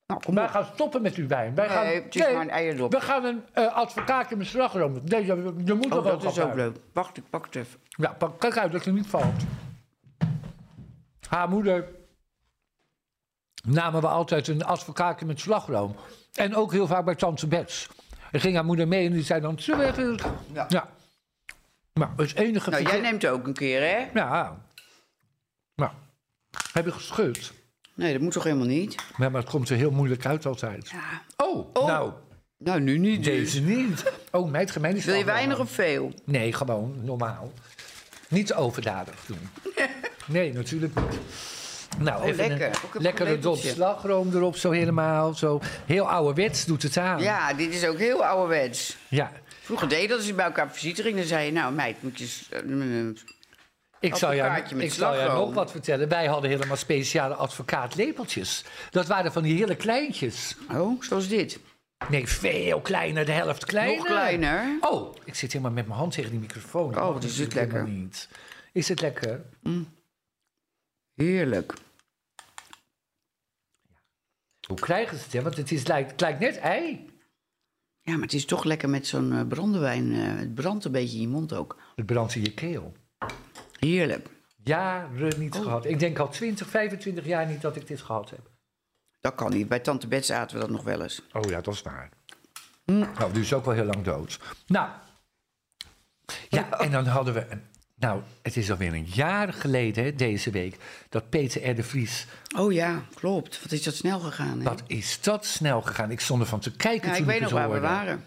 Speaker 2: Nou, kom
Speaker 1: Wij
Speaker 2: maar.
Speaker 1: gaan stoppen met uw wijn. Wij gaan,
Speaker 2: Nee, het is maar een eierdop.
Speaker 1: We gaan een eh, advocaat in beslag nemen. Nee, je, je moet er
Speaker 2: Oh,
Speaker 1: wel
Speaker 2: dat is
Speaker 1: van
Speaker 2: ook
Speaker 1: uit.
Speaker 2: leuk. Wacht, ik pak het even.
Speaker 1: Ja, pak, kijk uit dat je niet valt. Haar moeder namen we altijd een advocaatje met slagroom. En ook heel vaak bij tante Bets. En ging haar moeder mee en die zei dan... "Zullen we even-"
Speaker 2: Ja.
Speaker 1: ja. Maar het enige...
Speaker 2: Nou, jij neemt ook een keer, hè?
Speaker 1: Ja. Nou, heb je geschud.
Speaker 2: Nee, dat moet toch helemaal niet?
Speaker 1: Ja, maar het komt er heel moeilijk uit altijd. Oh, nou,
Speaker 2: Nou, nu niet
Speaker 1: deze niet. Oh, meid, gemeen is
Speaker 2: Wil je
Speaker 1: wel
Speaker 2: weinig
Speaker 1: wel.
Speaker 2: of veel?
Speaker 1: Nee, gewoon normaal. Niet overdadig doen. Nee, natuurlijk niet. Nou,
Speaker 2: Oh,
Speaker 1: even
Speaker 2: lekker. Ook
Speaker 1: een
Speaker 2: een
Speaker 1: lekkere dop
Speaker 2: lepeltje.
Speaker 1: slagroom erop, zo helemaal. Zo heel ouderwets doet het aan.
Speaker 2: Ja, dit is ook heel ouderwets.
Speaker 1: Ja.
Speaker 2: Vroeger deed je dat als je bij elkaar op visite ging. Dan zei je, nou meid, moet je... eens, eh, mm,
Speaker 1: Ik zal, jou,
Speaker 2: Advocaatje met
Speaker 1: ik zal jou
Speaker 2: slagroom.
Speaker 1: nog wat vertellen. Wij hadden helemaal speciale advocaatlepeltjes. Dat waren van die hele kleintjes.
Speaker 2: mm." Oh, zoals dit.
Speaker 1: Nee, veel kleiner, de helft kleiner.
Speaker 2: Nog kleiner.
Speaker 1: Oh, ik zit helemaal met mijn hand tegen die microfoon. Dat
Speaker 2: Oh,
Speaker 1: mag
Speaker 2: wat is
Speaker 1: natuurlijk
Speaker 2: dit lekker.
Speaker 1: helemaal Niet. Is het lekker?
Speaker 2: Heerlijk.
Speaker 1: Hoe krijgen ze het? Hè? Want het, is, het lijkt, het lijkt net ei.
Speaker 2: Ja, maar het is toch lekker met zo'n eh, brandewijn. eh, het brandt een beetje in je mond ook.
Speaker 1: Het brandt in je keel.
Speaker 2: Heerlijk.
Speaker 1: Jaren
Speaker 2: Oh.
Speaker 1: niet gehad. Ik denk al 20, 25 jaar niet dat ik dit gehad heb.
Speaker 2: Dat kan niet. Bij Tante Bets aten we dat nog wel eens.
Speaker 1: Oh ja, dat is waar.
Speaker 2: Mm.
Speaker 1: Nou, die is ook wel heel lang dood. Nou,
Speaker 2: Oh.
Speaker 1: ja, en dan hadden we... een- nou, het is alweer een jaar geleden, hè, deze week... dat Peter R. de Vries...
Speaker 2: Oh ja, klopt. Wat is dat snel gegaan, hè?
Speaker 1: Wat is dat snel gegaan? Ik stond ervan te kijken
Speaker 2: ja,
Speaker 1: toen
Speaker 2: ik weet
Speaker 1: het
Speaker 2: nog waar we
Speaker 1: hoorde.
Speaker 2: waren.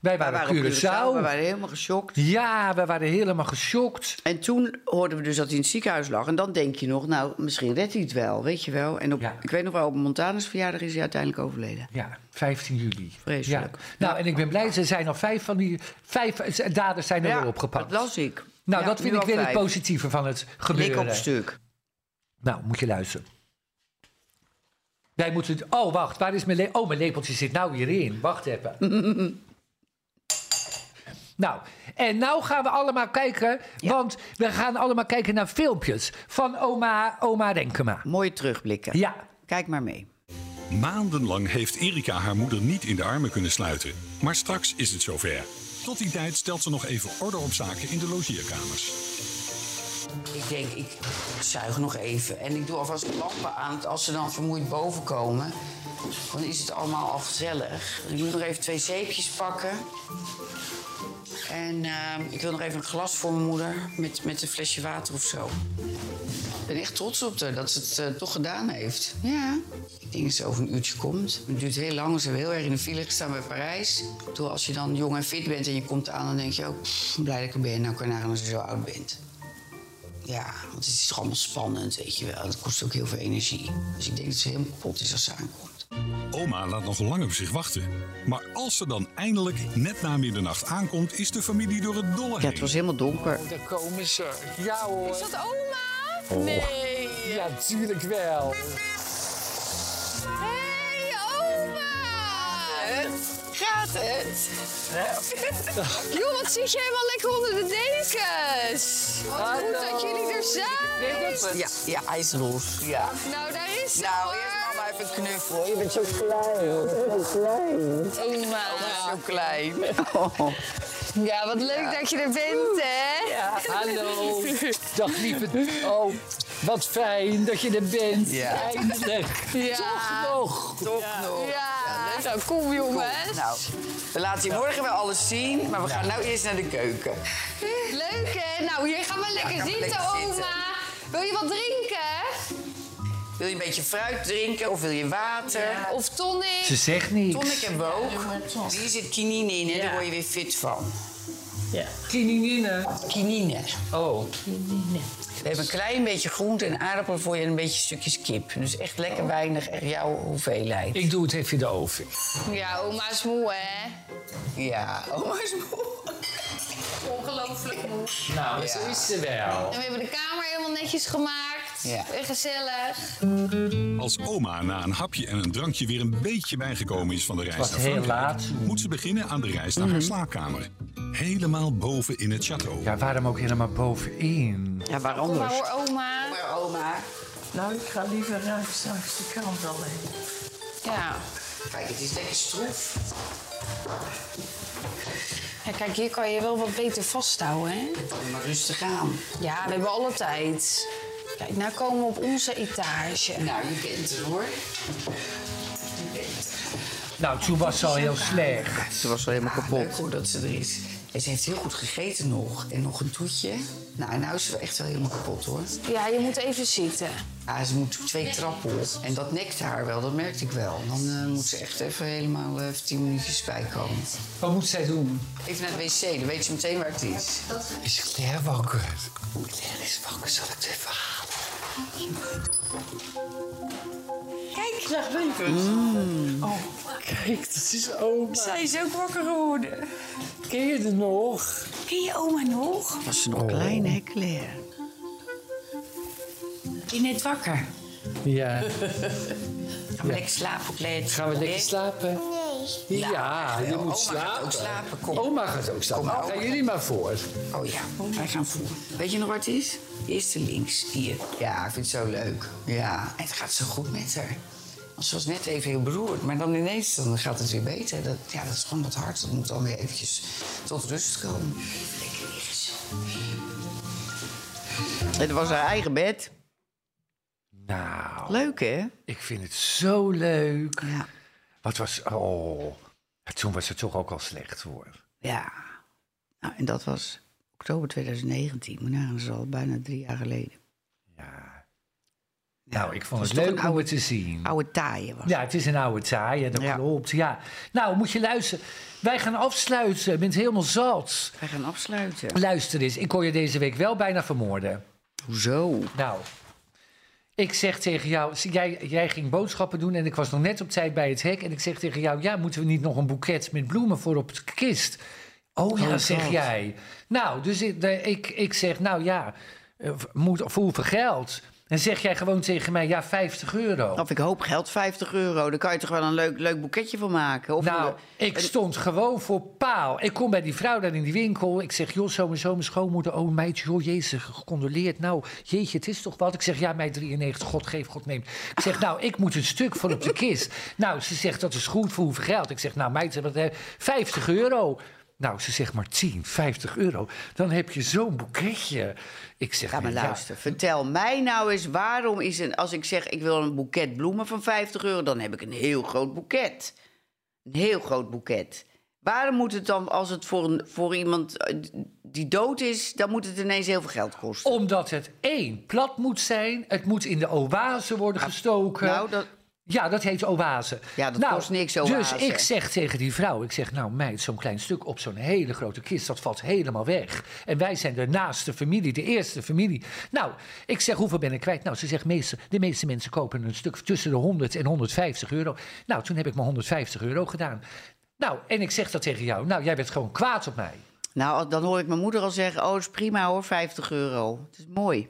Speaker 1: Wij
Speaker 2: We
Speaker 1: waren,
Speaker 2: waren op
Speaker 1: op Curaçao.
Speaker 2: We waren helemaal geschokt.
Speaker 1: Ja, we waren helemaal geschokt.
Speaker 2: En toen hoorden we dus dat hij in het ziekenhuis lag. En dan denk je nog, nou, misschien redt hij het wel, weet je wel. En op,
Speaker 1: Ja.
Speaker 2: ik weet nog wel, op Montanus verjaardag is hij uiteindelijk overleden.
Speaker 1: Ja, 15 juli.
Speaker 2: Vreselijk.
Speaker 1: Ja. Nou, en ik ben blij, ze zijn al vijf van die... Vijf eh, daders zijn er weer opgepakt.
Speaker 2: dat las ik.
Speaker 1: Nou,
Speaker 2: Ja,
Speaker 1: dat vind
Speaker 2: nu
Speaker 1: ik
Speaker 2: al
Speaker 1: weer het
Speaker 2: vijf.
Speaker 1: positieve van het
Speaker 2: Lik op
Speaker 1: gebeuren.
Speaker 2: stuk.
Speaker 1: Nou, moet je luisteren. Wij moeten... Oh, wacht, waar is mijn lepeltje? Oh, mijn lepeltje zit nou hierin. Wacht even. nou, en nou gaan we allemaal kijken... want we gaan allemaal kijken naar filmpjes van oma, oma Renkema.
Speaker 2: Mooi terugblikken.
Speaker 1: Ja,
Speaker 2: Kijk maar mee.
Speaker 8: Maandenlang heeft Erika haar moeder niet in de armen kunnen sluiten. Maar straks is het zover. Tot die tijd stelt ze nog even orde op zaken in de logeerkamers.
Speaker 2: Ik denk, ik zuig nog even. En ik doe alvast de lampen aan, als ze dan vermoeid boven komen. Dan is het allemaal al gezellig. Ik moet nog even twee zeepjes pakken. En eh, ik wil nog even een glas voor mijn moeder met, met een flesje water of zo. Ik ben echt trots op haar dat ze het eh, toch gedaan heeft. Ja. Ik denk dat ze over een uurtje komt. Het duurt heel lang. Ze hebben heel erg in de file gestaan bij Parijs. Toen als je dan jong en fit bent en je komt aan, dan denk je ook... "Pff, blij dat ik er ben, nou kan je nagaan als je zo oud bent. Ja, want het is toch allemaal spannend, weet je wel. Het kost ook heel veel energie. Dus ik denk dat ze helemaal kapot is als ze aankomt.
Speaker 8: Oma laat nog lang op zich wachten. Maar als ze dan eindelijk net na middernacht aankomt, is de familie door het dolle heen.
Speaker 2: helemaal donker.
Speaker 1: Daar komen ze. Ja hoor. Is dat oma?
Speaker 2: Oh.
Speaker 1: Nee. Ja, tuurlijk wel.
Speaker 9: Hey, oma! Gaat het? Joh, wat zit je helemaal lekker onder de dekens? Wat goed dat jullie er zijn!
Speaker 2: Ja, ja, ijsroos. Ja.
Speaker 9: Nou, daar is ze
Speaker 2: Nou,
Speaker 9: hoor.
Speaker 2: eerst mama even een knuffel. Je bent
Speaker 9: Oma.
Speaker 2: zo klein.
Speaker 9: Ja, wat leuk dat je er bent, hè?
Speaker 1: Hallo. Dag lieve. Oh, wat fijn dat je er bent.
Speaker 2: Ja.
Speaker 1: Eindelijk.
Speaker 9: Ja.
Speaker 1: Toch nog.
Speaker 2: Toch nog.
Speaker 9: Ja. Nou, kom jongens.
Speaker 2: Nou, we laten je morgen wel alles zien, maar we gaan nou eerst naar de keuken.
Speaker 9: Leuk, hè? Nou, hier gaan we lekker
Speaker 2: gaan we
Speaker 9: zitten,
Speaker 2: lekker
Speaker 9: oma.
Speaker 2: zitten.
Speaker 9: Wil je wat drinken?
Speaker 2: Wil je een beetje fruit drinken of wil je water?
Speaker 9: Of tonic?
Speaker 1: Ze zegt niks.
Speaker 2: Tonic hebben we ook. Hier zit kinine in, hè? daar word je weer fit van.
Speaker 1: Kininine.
Speaker 2: Kinine.
Speaker 1: Oh,
Speaker 2: We hebben een klein beetje groente en aardappel voor je en een beetje stukjes kip. Dus echt lekker weinig, echt jouw hoeveelheid.
Speaker 1: ik doe het even in de oven.
Speaker 9: Ja, oma is moe, hè?
Speaker 2: Ja, oma Oh, is moe.
Speaker 9: Ongelooflijk moe.
Speaker 1: Nou, zo is ze wel.
Speaker 9: En we hebben de kamer helemaal netjes gemaakt.
Speaker 2: Ja.
Speaker 9: En gezellig.
Speaker 8: Als oma na een hapje en een drankje weer een beetje bijgekomen is van de reis
Speaker 1: was
Speaker 8: naar
Speaker 1: heel Mhm.
Speaker 8: Frankrijk,
Speaker 1: laat.
Speaker 8: moet ze beginnen aan de reis naar haar slaapkamer. Helemaal boven in het château.
Speaker 1: Ja, waarom ook helemaal bovenin?
Speaker 2: Ja, waar
Speaker 9: Kom maar
Speaker 2: anders?
Speaker 9: hoor, oma.
Speaker 2: Maar oma,
Speaker 10: Nou, ik ga liever naar straks de krant alleen.
Speaker 9: Ja.
Speaker 2: kijk, het is lekker stroef.
Speaker 9: ja. Kijk, hier kan je wel wat beter vasthouden, hè?
Speaker 2: Doe Maar rustig aan.
Speaker 9: Ja, we hebben alle tijd. Kijk, nou komen we op onze etage.
Speaker 2: Nou, je bent er hoor.
Speaker 1: Nou, toen was ze al heel slecht.
Speaker 2: Ze was wel helemaal kapot. Ah, Leuk hoor dat ze er is. En ze heeft heel goed gegeten nog. En nog een toetje. Nou, nou is ze echt wel helemaal kapot hoor.
Speaker 9: Ja, je moet even zitten.
Speaker 2: Ja, ze moet twee trappen op. En dat nekte haar wel, dat merkte ik wel. Dan eh, moet ze echt even helemaal eh, even tien minuutjes bijkomen.
Speaker 1: Wat moet zij doen?
Speaker 2: Even naar de wc, dan weet ze meteen waar het is.
Speaker 1: Is Claire wakker?
Speaker 2: Claire is wakker, zal ik het even halen?
Speaker 9: Kijk.
Speaker 10: Zeg, Winkens.
Speaker 2: Mm.
Speaker 10: Oh, kijk, dat is oma.
Speaker 9: Zij is ook wakker geworden.
Speaker 10: Ken je het nog?
Speaker 9: Ken je oma nog?
Speaker 10: Was ze
Speaker 1: Oh.
Speaker 10: nog klein, hè, Claire?
Speaker 9: Die net wakker.
Speaker 10: Ja.
Speaker 9: Gaan we lekker slapen, Claire?
Speaker 10: Gaan we lekker slapen? Nee. Ja, je moet slapen.
Speaker 9: Gaat ook slapen. Kom.
Speaker 10: Oma gaat ook slapen.
Speaker 9: Kom,
Speaker 10: Nou,
Speaker 9: oma.
Speaker 10: Gaan jullie maar voor.
Speaker 9: Oh ja, wij gaan voor. Weet je nog wat het is? De eerste links, hier. Ja, ik vind het zo leuk. Ja, en het gaat zo goed met haar. Want ze was net even heel beroerd, maar dan ineens dan gaat het weer beter. Dat, ja, dat is gewoon dat hart. Dat moet dan weer eventjes tot rust komen. Even lekker liggen zo.
Speaker 2: Het was haar eigen bed.
Speaker 1: Nou,
Speaker 2: Leuk, hè?
Speaker 1: ik vind het zo leuk.
Speaker 2: Ja.
Speaker 1: Wat was... Oh, toen was het toch ook al slecht hoor.
Speaker 2: Ja. Nou, en dat was oktober 2019. Maar nou, dat is al bijna drie jaar geleden.
Speaker 1: Ja. Nou, ik vond
Speaker 2: Het
Speaker 1: het
Speaker 2: is toch
Speaker 1: leuk
Speaker 2: een
Speaker 1: om
Speaker 2: oude-
Speaker 1: het te zien.
Speaker 2: Oude taaien was.
Speaker 1: Ja, het is een oude taai, hè, dat
Speaker 2: Ja.
Speaker 1: klopt. Ja. Nou, moet je luisteren. Wij gaan afsluiten. Je bent helemaal zat.
Speaker 2: Wij gaan afsluiten.
Speaker 1: Luister eens, ik kon je deze week wel bijna vermoorden.
Speaker 2: Hoezo?
Speaker 1: Nou, ik zeg tegen jou... zie, Jij, jij ging boodschappen doen en ik was nog net op tijd bij het hek. En ik zeg tegen jou, ja, moeten we niet nog een boeket met bloemen voor op de kist? Oh ja,
Speaker 2: Oh,
Speaker 1: zeg
Speaker 2: God.
Speaker 1: jij. Nou, dus ik, de- ik, ik zeg, nou ja, eh, moet, voor hoeveel geld? En zeg jij gewoon tegen mij, ja, 50 euro.
Speaker 2: Of ik hoop geld 50 euro. Daar kan je toch wel een leuk, leuk boeketje van maken? Of
Speaker 1: Nou, ik stond gewoon voor paal. Ik kom bij die vrouw daar in die winkel. Ik zeg, joh, zo en zo, mijn schoonmoeder. Oh, meid, joh, jezus, gecondoleerd. Nou, jeetje, het is toch wat? Ik zeg, ja, meid 93, God geeft, God neemt. Ik zeg, nou, ik moet een stuk voor op de kist. Nou, ze zegt, dat is goed, voor hoeveel geld? Ik zeg, nou, meid, wat, eh, 50 euro. Nou, ze zegt maar 10, 50 euro. Dan heb je zo'n boeketje. Ik zeg,
Speaker 2: Ga maar
Speaker 1: nee, ja.
Speaker 2: luisteren. Vertel mij nou eens waarom is een. Als ik zeg ik wil een boeket bloemen van 50 euro, dan heb ik een heel groot boeket. Een heel groot boeket. Waarom moet het dan, als het voor, een, voor iemand eh, die dood is, dan moet het ineens heel veel geld kosten?
Speaker 1: Omdat het één, plat moet zijn. Het moet in de oase worden gestoken.
Speaker 2: Nou, dat,
Speaker 1: Ja, dat heet oase.
Speaker 2: Ja, dat kost niks, oase.
Speaker 1: Dus ik zeg tegen die vrouw, ik zeg, nou meid, zo'n klein stuk op zo'n hele grote kist, dat valt helemaal weg. En wij zijn de naaste familie, de eerste familie. Nou, ik zeg, hoeveel ben ik kwijt? Nou, ze zegt, meeste, de meeste mensen kopen een stuk tussen de 100 en 150 euro. Nou, toen heb ik maar 150 euro gedaan. Nou, en ik zeg dat tegen jou. Nou, jij bent gewoon kwaad op mij.
Speaker 2: nou, dan hoor ik mijn moeder al zeggen: Oh, is prima hoor, 50 euro. Het is mooi.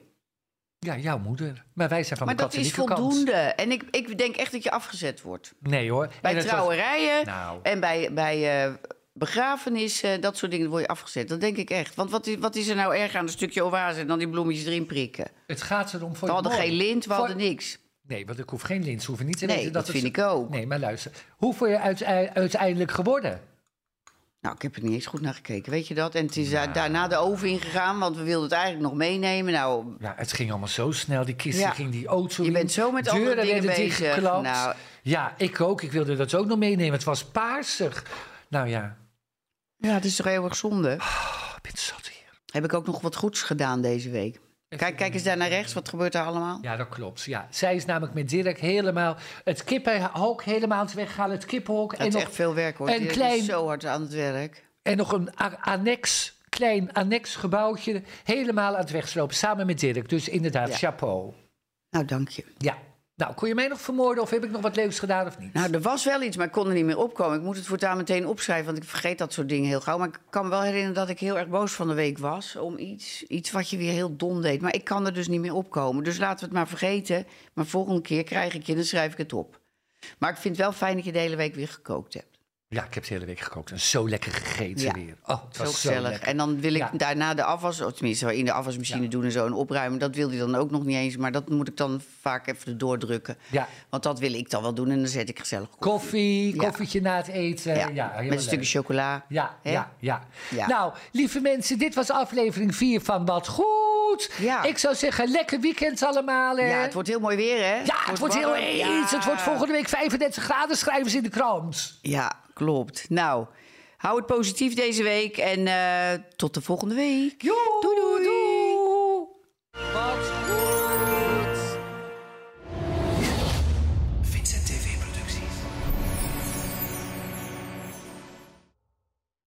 Speaker 1: Ja, jouw moeder. Maar wij zijn van
Speaker 2: maar
Speaker 1: de
Speaker 2: dat is
Speaker 1: katholieke kant.
Speaker 2: voldoende. En ik, ik denk echt dat je afgezet wordt.
Speaker 1: Nee hoor. En
Speaker 2: Bij
Speaker 1: het was-
Speaker 2: trouwerijen
Speaker 1: Nou.
Speaker 2: en bij, bij eh, begrafenissen, eh, dat soort dingen word je afgezet. Dat denk ik echt. Want wat is, wat is er nou erg aan een stukje oase en dan die bloemetjes erin prikken?
Speaker 1: Het gaat erom voor
Speaker 2: We hadden
Speaker 1: je mooi.
Speaker 2: geen lint, we
Speaker 1: Voor-
Speaker 2: hadden niks.
Speaker 1: Nee, want ik hoef geen lins, hoeven niet te
Speaker 2: Nee,
Speaker 1: weten
Speaker 2: dat
Speaker 1: het
Speaker 2: vind
Speaker 1: zo-
Speaker 2: ik ook.
Speaker 1: Nee, maar luister. Hoeveel je uite- uiteindelijk geworden?
Speaker 2: Nou, ik heb er niet eens goed naar gekeken, weet je dat? En het is
Speaker 1: Nou.
Speaker 2: da- daarna de oven ingegaan, want we wilden het eigenlijk nog meenemen. Nou,
Speaker 1: Ja, het ging allemaal zo snel. Die kisten
Speaker 2: Ja.
Speaker 1: ging die auto
Speaker 2: Je
Speaker 1: in.
Speaker 2: bent zo met andere
Speaker 1: Deuren
Speaker 2: dingen
Speaker 1: werden
Speaker 2: bezig.
Speaker 1: dichtgeklapt.
Speaker 2: Nou.
Speaker 1: Ja, ik ook. Ik wilde dat ook nog meenemen. Het was paarsig. Nou ja,
Speaker 2: ja, het is toch heel erg zonde.
Speaker 1: oh, ik ben zat hier.
Speaker 2: Heb ik ook nog wat goeds gedaan deze week. Kijk, kijk eens daar naar rechts, wat gebeurt daar allemaal?
Speaker 1: Ja, dat klopt. Ja, zij is namelijk met Dirk helemaal het kippenhok helemaal aan het weghalen. Het kippenhok.
Speaker 2: Dat
Speaker 1: en
Speaker 2: is
Speaker 1: nog,
Speaker 2: echt veel werk hoor.
Speaker 1: en
Speaker 2: Die is
Speaker 1: klein-
Speaker 2: zo hard aan het werk.
Speaker 1: en nog een a- annex, klein annex gebouwtje helemaal aan het wegslopen. Samen met Dirk. Dus inderdaad,
Speaker 2: Ja.
Speaker 1: chapeau.
Speaker 2: Nou, dank je.
Speaker 1: Ja. Nou, kon je mij nog vermoorden of heb ik nog wat leuks gedaan of niet?
Speaker 2: Nou, er was wel iets, maar ik kon er niet meer opkomen. Ik moet het voortaan meteen opschrijven, want ik vergeet dat soort dingen heel gauw. Maar ik kan me wel herinneren dat ik heel erg boos van de week was om iets. Iets wat je weer heel dom deed. Maar ik kan er dus niet meer opkomen. Dus laten we het maar vergeten. Maar volgende keer krijg ik je en dan schrijf ik het op. Maar ik vind het wel fijn dat je de hele week weer gekookt hebt.
Speaker 1: Ja, ik heb de hele week gekookt en zo lekker gegeten
Speaker 2: Ja.
Speaker 1: weer. Oh, het
Speaker 2: Zo
Speaker 1: was zo
Speaker 2: gezellig.
Speaker 1: lekker.
Speaker 2: en dan wil ik
Speaker 1: Ja.
Speaker 2: daarna de afwas, of tenminste in de afwasmachine
Speaker 1: Ja.
Speaker 2: doen en zo en opruimen. Dat wil hij dan ook nog niet eens, maar dat moet ik dan vaak even doordrukken.
Speaker 1: Ja.
Speaker 2: Want dat wil ik dan wel doen en dan zet ik gezellig op.
Speaker 1: Koffie,
Speaker 2: Ja.
Speaker 1: koffietje na het eten. eh, Ja, helemaal
Speaker 2: Met een stukje
Speaker 1: leuk.
Speaker 2: chocola.
Speaker 1: Ja,
Speaker 2: Hè?
Speaker 1: ja, ja,
Speaker 2: Ja.
Speaker 1: Nou, lieve mensen, dit was aflevering 4 van Wat Goed.
Speaker 2: Ja.
Speaker 1: Ik zou zeggen, lekker weekend allemaal. Hè?
Speaker 2: Ja, het wordt heel mooi weer, hè?
Speaker 1: Ja, het wordt heel
Speaker 2: warm.
Speaker 1: eens. Het wordt volgende week 35 graden, schrijven ze in de krant.
Speaker 2: Ja, klopt. Nou, hou het positief deze week en eh, tot de volgende week.
Speaker 1: Joe!
Speaker 2: Doei!